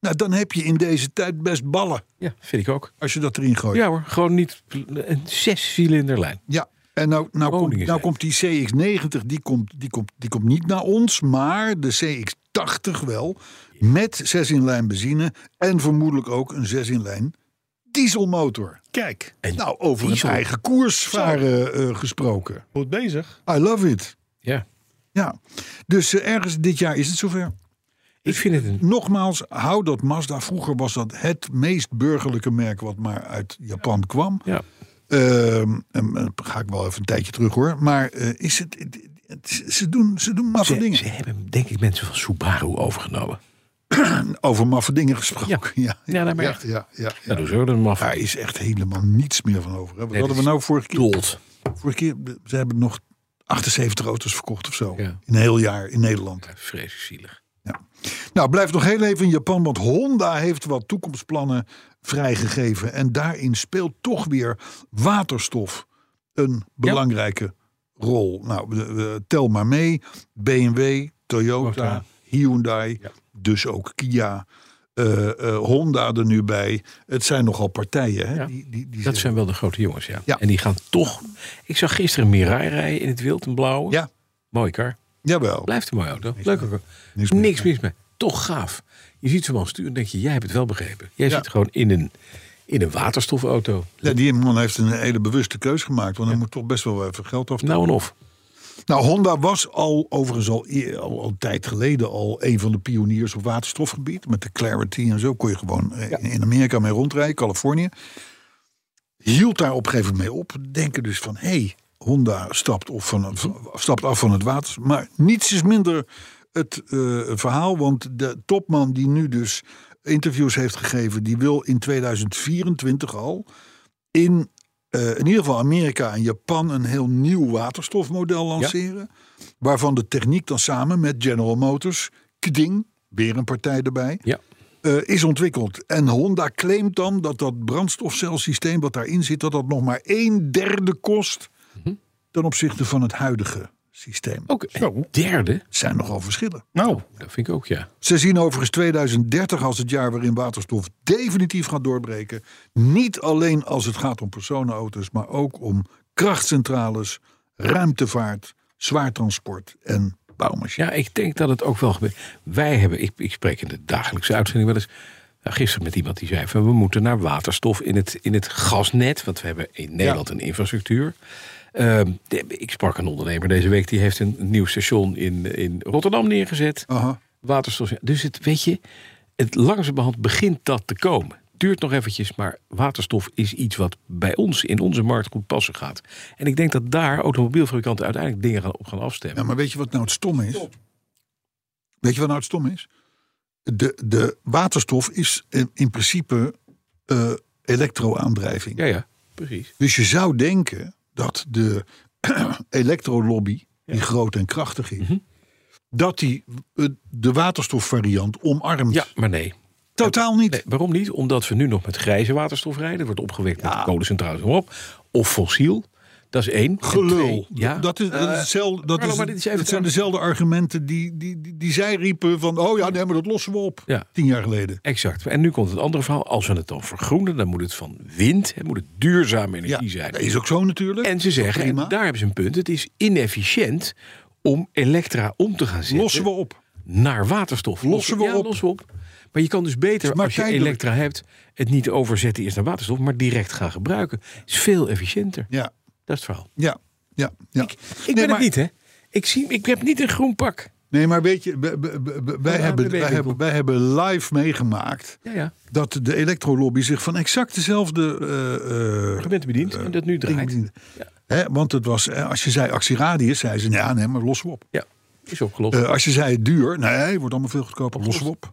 Speaker 3: Nou, dan heb je in deze tijd best ballen
Speaker 2: ja, vind ik ook.
Speaker 3: als je dat erin gooit.
Speaker 2: Ja hoor, gewoon niet een zescilinder lijn.
Speaker 3: Ja, en nou, nou,
Speaker 2: Groningen
Speaker 3: komt, nou
Speaker 2: zijn.
Speaker 3: komt die CX90, die komt, die, komt, die komt niet naar ons, maar de CX80 wel. Met 6 in lijn benzine en vermoedelijk ook een 6 in lijn dieselmotor.
Speaker 4: Kijk,
Speaker 2: En
Speaker 3: Nou, over
Speaker 2: diesel.
Speaker 3: een eigen koers varen eh, gesproken.
Speaker 4: goed bezig.
Speaker 3: I love it.
Speaker 2: Ja.
Speaker 3: Ja, dus eh, ergens dit jaar is het zover.
Speaker 2: Ik vind het een...
Speaker 3: Nogmaals, hou dat Mazda. Vroeger was dat het meest burgerlijke merk wat maar uit Japan kwam.
Speaker 2: Ja.
Speaker 3: Ehm, en, eh, ga ik wel even een tijdje terug hoor. Maar eh, is het, het- het- ze doen, ze doen maffe
Speaker 2: Ze,
Speaker 3: dingen.
Speaker 2: ze hebben denk ik mensen van Subaru overgenomen.
Speaker 3: Over maffe dingen gesproken. Ja, ja,
Speaker 2: Ja, nee, maar
Speaker 3: ja,
Speaker 2: echt.
Speaker 3: ja, ja,
Speaker 2: Ja, dat is ook een maf.
Speaker 3: Daar is echt helemaal niets meer van over. Hè. Wat
Speaker 2: Nee,
Speaker 3: hadden we
Speaker 2: dat is
Speaker 3: nou vorige keer?
Speaker 2: Dolt.
Speaker 3: Vorige keer, ze hebben nog 78 auto's verkocht of zo.
Speaker 2: Ja.
Speaker 3: In een heel jaar in Nederland.
Speaker 2: Ja, Vreselijk zielig.
Speaker 3: Nou, blijf nog heel even in Japan, want Honda heeft wat toekomstplannen vrijgegeven. En daarin speelt toch weer waterstof een belangrijke rol. Nou, eh, eh, tel maar mee. BMW, Toyota,
Speaker 2: Toyota.
Speaker 3: Hyundai, dus ook Kia. eh, eh, Honda er nu bij. Het zijn nogal partijen. Hè?
Speaker 2: Ja.
Speaker 3: Die, die, die
Speaker 2: Dat
Speaker 3: zeggen-
Speaker 2: zijn wel de grote jongens, ja.
Speaker 3: Ja.
Speaker 2: En die gaan toch... Ik zag gisteren een Mirai rijden in het wild, een blauwe.
Speaker 3: Ja.
Speaker 2: Mooi kar.
Speaker 3: Jawel.
Speaker 2: Blijft een mooie auto. Leuk ook.
Speaker 3: Niks mis
Speaker 2: Niks, mis mee. Toch gaaf. Je ziet zo'n man sturen en denk je, jij hebt het wel begrepen. Jij
Speaker 3: Ja.
Speaker 2: zit gewoon in een, in een waterstofauto.
Speaker 3: Ja, die man heeft een hele bewuste keus gemaakt. Want hij moet toch best wel even geld af.
Speaker 2: Nou en of.
Speaker 3: Nou, Honda was al overigens al, eer- al, al een tijd geleden al een van de pioniers op waterstofgebied. Met de Clarity en zo kon je gewoon eh, in- in Amerika mee rondrijden, Californië. Hield daar op een gegeven moment mee op. Denken dus van, hé, hey, Honda stapt, of van, v- stapt af van het water. Maar niets is minder het eh, verhaal, want de topman die nu dus interviews heeft gegeven... die wil in 2024 al in eh, in ieder geval Amerika en Japan een heel nieuw waterstofmodel lanceren. Waarvan de techniek dan samen met General Motors, KDING, weer een partij erbij,
Speaker 2: Ja.
Speaker 3: eh, is ontwikkeld. En Honda claimt dan dat dat brandstofcelsysteem wat daarin zit, dat dat nog maar een derde kost ten opzichte van het huidige systeem.
Speaker 2: Ook een derde.
Speaker 3: Het zijn nogal verschillen.
Speaker 4: Nou,
Speaker 2: Dat vind ik ook, ja.
Speaker 3: Ze zien overigens 2030 als het jaar waarin waterstof definitief gaat doorbreken. Niet alleen als het gaat om personenauto's, maar ook om krachtcentrales, ruimtevaart, zwaar transport en bouwmachines.
Speaker 2: Ja, ik denk dat het ook wel gebeurt. Wij hebben, ik, ik spreek in de dagelijkse uitzending wel eens. nou, gisteren met iemand die zei van we moeten naar waterstof in het, in het gasnet. Want we hebben in Nederland een infrastructuur. Ehm, de- ik sprak een ondernemer deze week. Die heeft een nieuw station in, in Rotterdam neergezet.
Speaker 3: Aha.
Speaker 2: Waterstof. Dus het, weet je, het langzamerhand begint dat te komen. Duurt nog eventjes, maar waterstof is iets wat bij ons in onze markt goed passen gaat. En ik denk dat daar automobielfabrikanten uiteindelijk dingen gaan- op gaan afstemmen.
Speaker 3: Ja, maar weet je wat nou het stomme is? Weet je wat nou het stomme is? De, de waterstof is in, in principe eh elektroaandrijving.
Speaker 2: Ja, ja, precies.
Speaker 3: Dus je zou denken dat de elektrolobby, die groot en krachtig is,
Speaker 2: Mhm.
Speaker 3: dat die eh, de waterstofvariant omarmt.
Speaker 2: Ja, maar nee.
Speaker 3: Totaal niet.
Speaker 2: nee. Waarom niet? Omdat we nu nog met grijze waterstof rijden. Het wordt opgewekt met kolencentrales maar op. Of fossiel. Dat is één. En
Speaker 3: Gelul.
Speaker 2: twee, Ja, Eh,
Speaker 3: Dat, is, dat, is hetzelfde, dat,
Speaker 2: Carlo,
Speaker 3: is,
Speaker 2: maar dit is even
Speaker 3: dat zijn
Speaker 2: te-
Speaker 3: dezelfde argumenten die, die, die, die zij riepen van... oh ja, nee, maar dat lossen we op.
Speaker 2: Ja.
Speaker 3: Tien jaar geleden.
Speaker 2: exact. En nu komt het andere verhaal. Als we het dan vergroenen, dan moet het van wind. Het moet het duurzame
Speaker 3: Ja,
Speaker 2: energie zijn.
Speaker 3: dat is ook zo natuurlijk.
Speaker 2: En ze zeggen, en
Speaker 3: Prima.
Speaker 2: daar hebben ze een punt. Het is inefficiënt om elektra om te gaan zetten.
Speaker 3: lossen we op.
Speaker 2: naar waterstof.
Speaker 3: Lossen we
Speaker 2: ja,
Speaker 3: op.
Speaker 2: Lossen we op. Maar je kan dus beter,
Speaker 3: maar
Speaker 2: als je
Speaker 3: tijdelijk.
Speaker 2: elektra hebt, het niet overzetten eerst naar waterstof, maar direct gaan gebruiken. is veel efficiënter.
Speaker 3: Ja,
Speaker 2: Dat is het verhaal.
Speaker 3: ja, ja. ja. Ik,
Speaker 2: Ik ben het niet, hè? Ik, zie, ik heb niet een groen pak.
Speaker 3: Nee, maar weet je, we- we- we- we- wij,
Speaker 2: Ja,
Speaker 3: hebben,
Speaker 2: dat weet
Speaker 3: wij,
Speaker 2: ik
Speaker 3: hebben,
Speaker 2: ook.
Speaker 3: wij hebben live meegemaakt...
Speaker 2: Ja, ja.
Speaker 3: dat de elektrolobby zich van exact dezelfde eh, eh,
Speaker 2: Je bent bediend en dat nu
Speaker 3: dingen
Speaker 2: draait.
Speaker 3: bediende. Hè, want het was, eh, als je zei actieradius, zei ze, ja, nee, maar lossen we op.
Speaker 2: Ja, is opgelost.
Speaker 3: Eh, als je zei duur, nee, wordt allemaal veel goedkoper, lossen we op.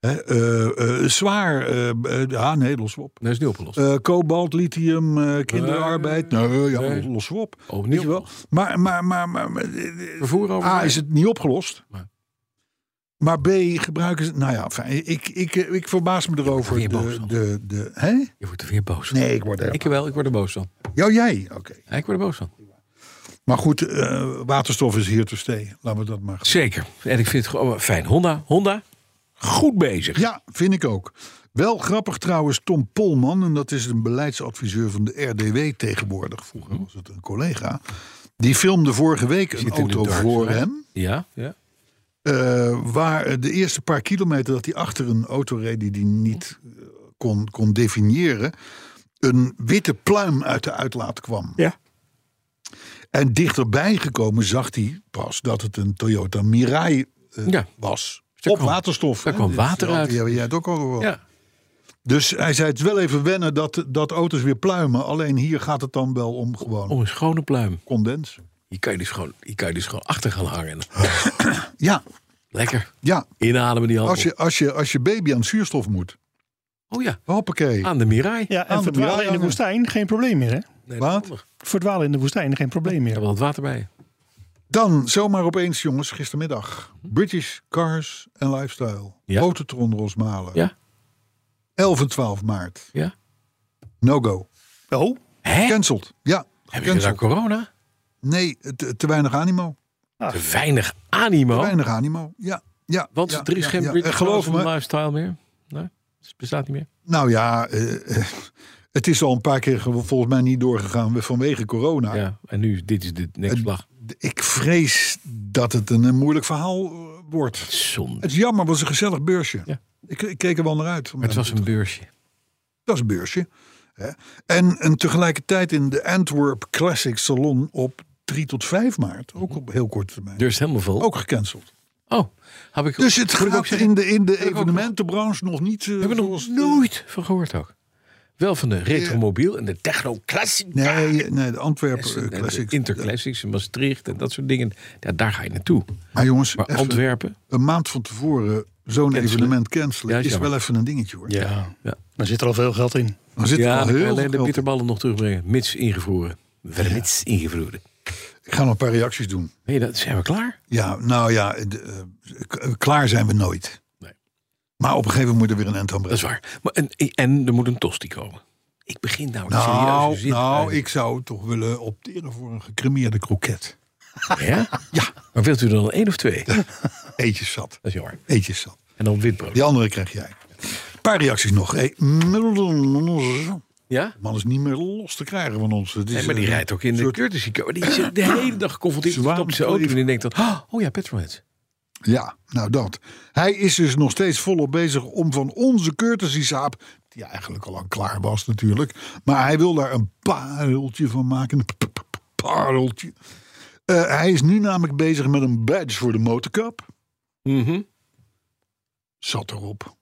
Speaker 3: Hè, eh, eh, zwaar, eh, eh, ja, nee, lossen we op.
Speaker 2: dat is nu opgelost.
Speaker 3: Eh, kobalt, lithium, eh, kinderarbeid, nee, ja,
Speaker 2: nee.
Speaker 3: lossen we op.
Speaker 2: Oh, niet
Speaker 3: Weet je wel? Maar, maar, maar, maar, maar,
Speaker 2: Vervoer over.
Speaker 3: A, ah, is het niet opgelost.
Speaker 2: Maar-
Speaker 3: Maar B, gebruiken ze... Nou ja, fijn, ik, ik, eh, ik verbaas me erover.
Speaker 2: weer boos
Speaker 3: de,
Speaker 2: van.
Speaker 3: de, de, hè?
Speaker 2: Je wordt er weer boos van.
Speaker 3: Nee, ik word er.
Speaker 2: Ik wel, ik word er boos van.
Speaker 3: Ja, jij. Oké.
Speaker 2: Ja, ik word er boos van.
Speaker 3: Maar goed, eh, waterstof is hier te stay. Laten we dat maar.
Speaker 2: Zeker. En ik vind het gewoon oh, fijn. Honda, Honda, goed bezig.
Speaker 3: Ja, vind ik ook. Wel grappig trouwens, Tom Polman, en dat is een beleidsadviseur van de RDW tegenwoordig. Vroeger was het een collega. Die filmde vorige week een
Speaker 2: Zit in de
Speaker 3: auto
Speaker 2: dark
Speaker 3: voor
Speaker 2: side.
Speaker 3: hem.
Speaker 2: Ja, ja.
Speaker 3: eh, waar de eerste paar kilometer dat hij achter een auto reed die hij niet eh, kon, kon definiëren. Een witte pluim uit de uitlaat kwam.
Speaker 6: Ja.
Speaker 3: En dichterbij gekomen zag hij pas dat het een Toyota Mirai eh,
Speaker 2: Ja.
Speaker 3: was.
Speaker 2: daar
Speaker 3: op
Speaker 2: kwam-
Speaker 3: waterstof.
Speaker 2: daar
Speaker 3: hè.
Speaker 2: kwam
Speaker 3: Dit
Speaker 2: water
Speaker 3: verhaal,
Speaker 2: uit.
Speaker 3: die hebben jij het ook al gehoord.
Speaker 2: ja.
Speaker 3: Dus hij zei het is wel even wennen dat, dat auto's weer pluimen. Alleen hier gaat het dan wel om gewoon
Speaker 2: Om een schone pluim.
Speaker 3: condens.
Speaker 2: Hier kan je dus gewoon, hier kan je dus gewoon achter gaan hangen.
Speaker 3: Ja,
Speaker 2: Lekker.
Speaker 3: ja.
Speaker 2: Inademen die hand.
Speaker 3: Als, je, als, je, als je baby aan zuurstof moet.
Speaker 2: Oh ja,
Speaker 3: Hoppakee.
Speaker 2: aan de Mirai.
Speaker 4: ja,
Speaker 3: Aan
Speaker 4: en
Speaker 3: de
Speaker 4: verdwalen in
Speaker 3: Marianne.
Speaker 4: de woestijn, geen probleem meer, hè?
Speaker 2: Nee,
Speaker 3: Wat?
Speaker 2: dat is handig.
Speaker 4: Verdwalen in de woestijn, geen probleem
Speaker 2: Ik
Speaker 4: meer.
Speaker 2: heb wel het water bij je.
Speaker 3: Dan zomaar opeens, jongens, gistermiddag. British Cars and Lifestyle.
Speaker 2: Ja.
Speaker 3: Autotron Rosmalen.
Speaker 2: Ja.
Speaker 3: 11 en 12 maart.
Speaker 2: Ja.
Speaker 3: No go.
Speaker 4: Oh,
Speaker 2: Hè?
Speaker 3: Cancelled. Ja,
Speaker 2: Hebben ze daar
Speaker 3: gecanceld.
Speaker 2: corona?
Speaker 3: Nee, te, te weinig
Speaker 2: Oh.
Speaker 3: animo.
Speaker 2: Te weinig animo.
Speaker 3: Te weinig animo. Ja. Ja,
Speaker 2: want
Speaker 3: ja,
Speaker 2: er is
Speaker 3: ja,
Speaker 2: geen
Speaker 3: ja.
Speaker 2: British
Speaker 3: En geloof me,
Speaker 2: lifestyle meer. Nee, het bestaat niet meer.
Speaker 3: nou ja, eh, eh, het is al een paar keer ge- volgens mij niet doorgegaan vanwege corona.
Speaker 2: Ja, en nu, is- dit is de next
Speaker 3: Ah. Het-
Speaker 2: vlag.
Speaker 3: Ik vrees dat het een, een moeilijk verhaal eh, wordt.
Speaker 2: Zonde.
Speaker 3: Het is jammer, het was een gezellig beursje.
Speaker 2: Ja.
Speaker 3: Ik, ik keek er wel naar uit.
Speaker 2: Maar het was een beursje.
Speaker 3: Dat is een beursje. Hè. En, en tegelijkertijd in de Antwerp Classic Salon op 3 tot 5 maart.
Speaker 2: Mhm.
Speaker 3: Ook op heel korte termijn.
Speaker 2: Deur is helemaal vol.
Speaker 3: Ook gecanceld.
Speaker 2: Oh, heb ik,
Speaker 3: Dus het
Speaker 2: moet ik ook
Speaker 3: gaat
Speaker 2: zeggen,
Speaker 3: in de, in de
Speaker 2: ook
Speaker 3: evenementenbranche nog niet... eh,
Speaker 2: heb ik nog
Speaker 3: zoals de-
Speaker 2: nooit van gehoord ook. Wel van de retromobiel en de techno classic.
Speaker 3: Nee, nee, de Antwerp eh,
Speaker 2: En de
Speaker 3: Classic.
Speaker 2: Interclassics en Maastricht en dat soort dingen. Ja, daar ga je naartoe.
Speaker 3: Maar jongens,
Speaker 2: Maar
Speaker 3: even
Speaker 2: Antwerpen,
Speaker 3: een maand van tevoren zo'n
Speaker 2: Cancelen.
Speaker 3: evenement cancelen
Speaker 2: Ja, is
Speaker 3: is
Speaker 2: jammer.
Speaker 3: wel even een dingetje hoor.
Speaker 4: Ja.
Speaker 2: Ja.
Speaker 4: Maar zit er al veel geld in.
Speaker 3: Dan zit er
Speaker 2: Ja,
Speaker 3: al heel veel
Speaker 2: alleen de
Speaker 3: geld in.
Speaker 2: bitterballen nog terugbrengen. Mits ingevroren. Wel mits ingevroren.
Speaker 3: Ik ga nog een paar reacties doen.
Speaker 2: Nee, dat zijn we klaar.
Speaker 3: Ja, nou ja, de, eh, k- klaar zijn we nooit.
Speaker 2: Nee.
Speaker 3: Maar op een gegeven moment moet er weer een end aan
Speaker 2: Dat is
Speaker 3: brengen.
Speaker 2: waar. Maar en, en er moet een tosti komen. Ik begin nou,
Speaker 3: Nou,
Speaker 2: serieus.
Speaker 3: nou, ik zou toch willen opteren voor een gecremeerde kroket.
Speaker 2: Ja? ja. Maar wilt u er dan één of twee? Dat
Speaker 3: Eetjes zat,
Speaker 2: is jammer.
Speaker 3: eetjes zat.
Speaker 2: En dan witbrood.
Speaker 3: Die andere krijg jij. Een paar reacties nog. Hey, de
Speaker 2: Ja?
Speaker 3: man is niet meer los te krijgen van ons. Het is,
Speaker 2: Nee, maar die
Speaker 3: eh,
Speaker 2: rijdt ook in de
Speaker 3: soort-
Speaker 2: courtesy car. Maar Die is de hele dag geconfronteerd. Die
Speaker 3: Zwaan
Speaker 2: stapt zijn auto en die denkt dan... Oh ja, petrolheads.
Speaker 3: Ja, nou dat. Hij is dus nog steeds volop bezig om van onze courtesy saap... die eigenlijk al lang klaar was natuurlijk... maar hij wil daar een pareltje van maken. Een p- p- p- pareltje. Eh, hij is nu namelijk bezig met een badge voor de motorkap.
Speaker 2: Mhm.
Speaker 3: Zat erop.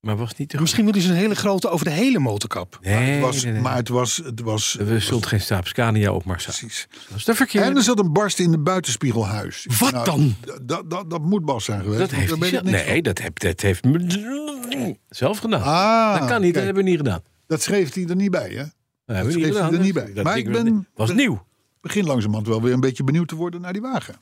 Speaker 2: Maar was niet te goed.
Speaker 4: Misschien moet hij zo'n hele grote over de hele motorkap.
Speaker 2: Nee,
Speaker 3: Het was,
Speaker 2: nee, nee.
Speaker 3: Maar het was... Het was
Speaker 2: We zult geen Saab Scania op Marsa.
Speaker 3: precies.
Speaker 2: Dat is de
Speaker 3: En er
Speaker 2: verkeerde.
Speaker 3: zat een barst in de buitenspiegelhuis. Nou,
Speaker 2: Wat dan?
Speaker 3: d- Dat, dat, dat moet Bas zijn geweest.
Speaker 2: Dat
Speaker 3: want
Speaker 2: heeft
Speaker 3: daar weet
Speaker 2: hij zelf,
Speaker 3: ik niks
Speaker 2: nee,
Speaker 3: van.
Speaker 2: dat, heb, dat heeft zelf gedaan.
Speaker 3: Ah,
Speaker 2: dat kan niet, dat
Speaker 3: kijk,
Speaker 2: hebben we niet gedaan.
Speaker 3: dat schreef hij er niet bij, hè?
Speaker 2: Dat hebben Nou, we
Speaker 3: schreef
Speaker 2: niet
Speaker 3: hij
Speaker 2: gedaan.
Speaker 3: er niet bij.
Speaker 2: Dat
Speaker 3: Maar
Speaker 2: ding
Speaker 3: ik ben-
Speaker 2: was
Speaker 3: ben-
Speaker 2: nieuw.
Speaker 3: begin langzamerhand wel weer een beetje benieuwd te worden naar die wagen.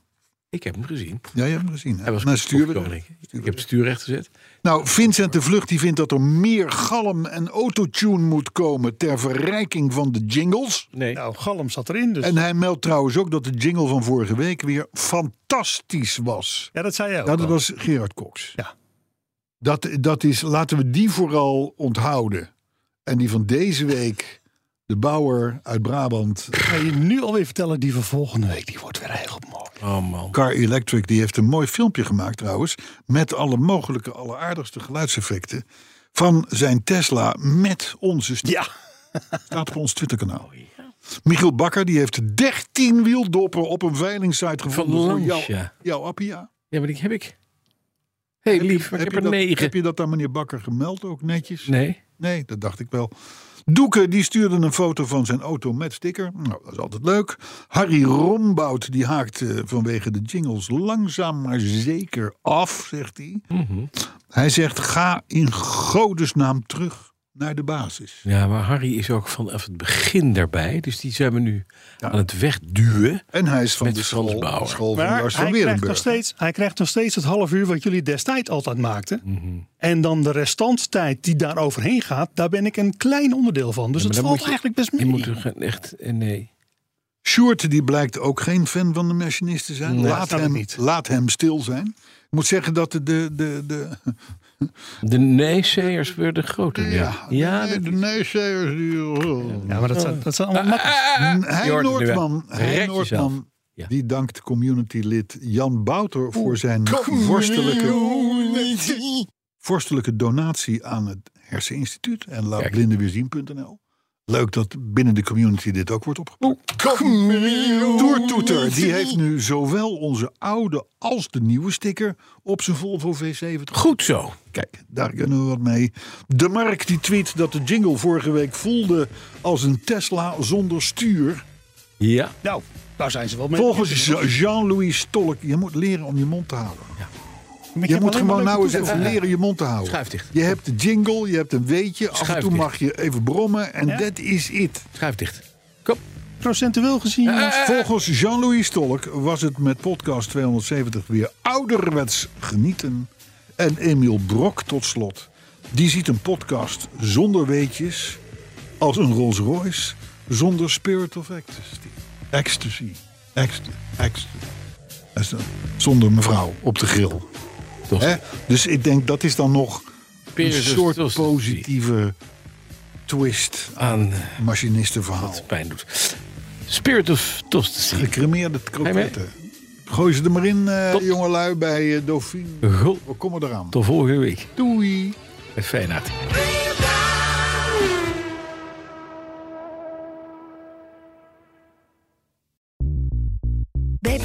Speaker 2: Ik heb hem gezien.
Speaker 3: Ja, je hebt hem gezien. hè?
Speaker 2: Hij was
Speaker 3: Naar
Speaker 2: kopkoning.
Speaker 3: stuurwerk.
Speaker 2: Ik heb het stuur recht gezet.
Speaker 3: Nou, Vincent de Vlucht die vindt dat er meer galm en autotune moet komen ter verrijking van de jingles.
Speaker 2: Nee.
Speaker 4: Nou, Galm zat erin dus.
Speaker 3: En hij meldt trouwens ook dat de jingle van vorige week weer fantastisch was.
Speaker 4: ja, dat zei jij ook.
Speaker 3: Nou, dat
Speaker 4: al.
Speaker 3: was Gerard Cox.
Speaker 4: Ja.
Speaker 3: Dat, dat is, laten we die vooral onthouden. En die van deze week, de bouwer uit Brabant,
Speaker 4: Ga je nu alweer vertellen, die van volgende week, die wordt weer heel mooi.
Speaker 2: Oh man.
Speaker 3: Car Electric die heeft een mooi filmpje gemaakt trouwens. Met alle mogelijke, alleraardigste geluidseffecten. Van zijn Tesla met onze st-
Speaker 4: Ja. Oh,
Speaker 3: staat op ons Twitterkanaal. Michiel Bakker die heeft 13 wieldoppen op een veilingsite gevonden.
Speaker 2: Van
Speaker 3: voor jou,
Speaker 2: Lancia.
Speaker 3: jouw Appia.
Speaker 2: Ja, maar die heb ik. Hé, hey, lief, maar ik heb, er
Speaker 3: dat,
Speaker 2: negen.
Speaker 3: heb je dat aan meneer Bakker gemeld ook netjes?
Speaker 2: Nee.
Speaker 3: Nee, dat dacht ik wel. Doeke die stuurde een foto van zijn auto met sticker. Nou, dat is altijd leuk. Harry Rombout die haakt eh, vanwege de jingles langzaam maar zeker af, zegt hij.
Speaker 2: Mhm.
Speaker 3: Hij zegt: ga in godesnaam terug naar de basis.
Speaker 2: Ja, maar Harry is ook vanaf het begin daarbij. Dus die zijn we nu
Speaker 3: Ja.
Speaker 2: aan het wegduwen.
Speaker 3: En hij is van
Speaker 2: Met
Speaker 3: de
Speaker 2: Frans
Speaker 3: school,
Speaker 2: Bauer.
Speaker 3: school van
Speaker 4: Maar
Speaker 3: Lars van
Speaker 4: hij krijgt, nog
Speaker 3: Werenburg.
Speaker 4: steeds, hij krijgt nog steeds het half uur wat jullie destijds altijd maakten. En dan de restantstijd die daar overheen gaat, daar ben ik een klein onderdeel van. Dus
Speaker 2: Ja, maar
Speaker 4: het
Speaker 2: dan
Speaker 4: valt
Speaker 2: moet je-
Speaker 4: eigenlijk best
Speaker 2: Je
Speaker 4: mee.
Speaker 2: moet er gaan- echt... eh, Nee.
Speaker 3: Sjoerd die blijkt ook geen fan van de machinist te zijn.
Speaker 4: Nee, dat
Speaker 3: laat,
Speaker 4: kan
Speaker 3: hem,
Speaker 4: ik niet.
Speaker 3: laat hem stil zijn. Ik moet zeggen dat de, de, de, de,
Speaker 2: De E nee-sayers werden groter. Ja, ja
Speaker 3: nee,
Speaker 2: dat-
Speaker 3: de nee-sayers die...
Speaker 4: Ja, maar dat zijn, dat zijn
Speaker 3: eh,
Speaker 4: allemaal makkelijk.
Speaker 2: Je
Speaker 3: Hij
Speaker 2: hoort het nu, hè?
Speaker 3: Noordman,
Speaker 2: Red
Speaker 3: hij
Speaker 2: jezelf.
Speaker 3: Noordman
Speaker 2: Ja.
Speaker 3: die dankt communitylid Jan Bouter voor zijn vorstelijke, vorstelijke donatie aan het Herseninstituut en laat
Speaker 2: Kijk.
Speaker 3: blinden weer zien.nl. Leuk dat binnen de community dit ook wordt opgepakt. Toertoeter, die heeft nu zowel onze oude als de nieuwe sticker op zijn Volvo V70.
Speaker 2: Goed zo.
Speaker 3: Kijk, daar kunnen we wat mee. De Mark die tweet dat de jingle vorige week voelde als een Tesla zonder stuur.
Speaker 2: Ja.
Speaker 4: Nou, daar zijn ze wel mee.
Speaker 3: Volgens Jean-Louis Stolk, je moet leren om je mond te houden.
Speaker 4: Maar ik
Speaker 3: Je
Speaker 4: heb
Speaker 3: moet
Speaker 4: alleen maar
Speaker 3: gewoon nou
Speaker 4: leuke
Speaker 3: eens even leren je mond te houden.
Speaker 2: Schuifdicht.
Speaker 3: Je hebt de jingle, je hebt een weetje. Af en toe
Speaker 2: Schuifdicht.
Speaker 3: mag je even brommen en
Speaker 4: Ja.
Speaker 3: dat is it.
Speaker 2: Schuif dicht. Kom.
Speaker 4: toevoegingen. Procentueel gezien.
Speaker 3: Eh,
Speaker 4: jongens.
Speaker 3: Volgens Jean-Louis Stolk was het met podcast 270 weer ouderwets genieten. En Emiel Brok tot slot. Die ziet een podcast zonder weetjes als een Rolls Royce zonder spirit of ecstasy. Ecstasy. Ecstasy. ecstasy. Dat is dan Zonder mevrouw op de grill.
Speaker 2: Toch.
Speaker 3: Hè? Dus ik denk dat is dan nog een
Speaker 2: Spirit of
Speaker 3: soort
Speaker 2: ecstasy.
Speaker 3: positieve twist
Speaker 2: Aan
Speaker 3: aan machinistenverhaal.
Speaker 2: wat pijn doet. Spirit of Tostacy.
Speaker 3: Gecremeerde kroketten. Gooi ze er maar in, eh,
Speaker 2: Top.
Speaker 3: jongelui, bij eh, Dauphine.
Speaker 2: Goed.
Speaker 3: We komen eraan.
Speaker 2: Tot volgende week.
Speaker 3: Doei.
Speaker 2: Met Feyenoord.
Speaker 7: Bij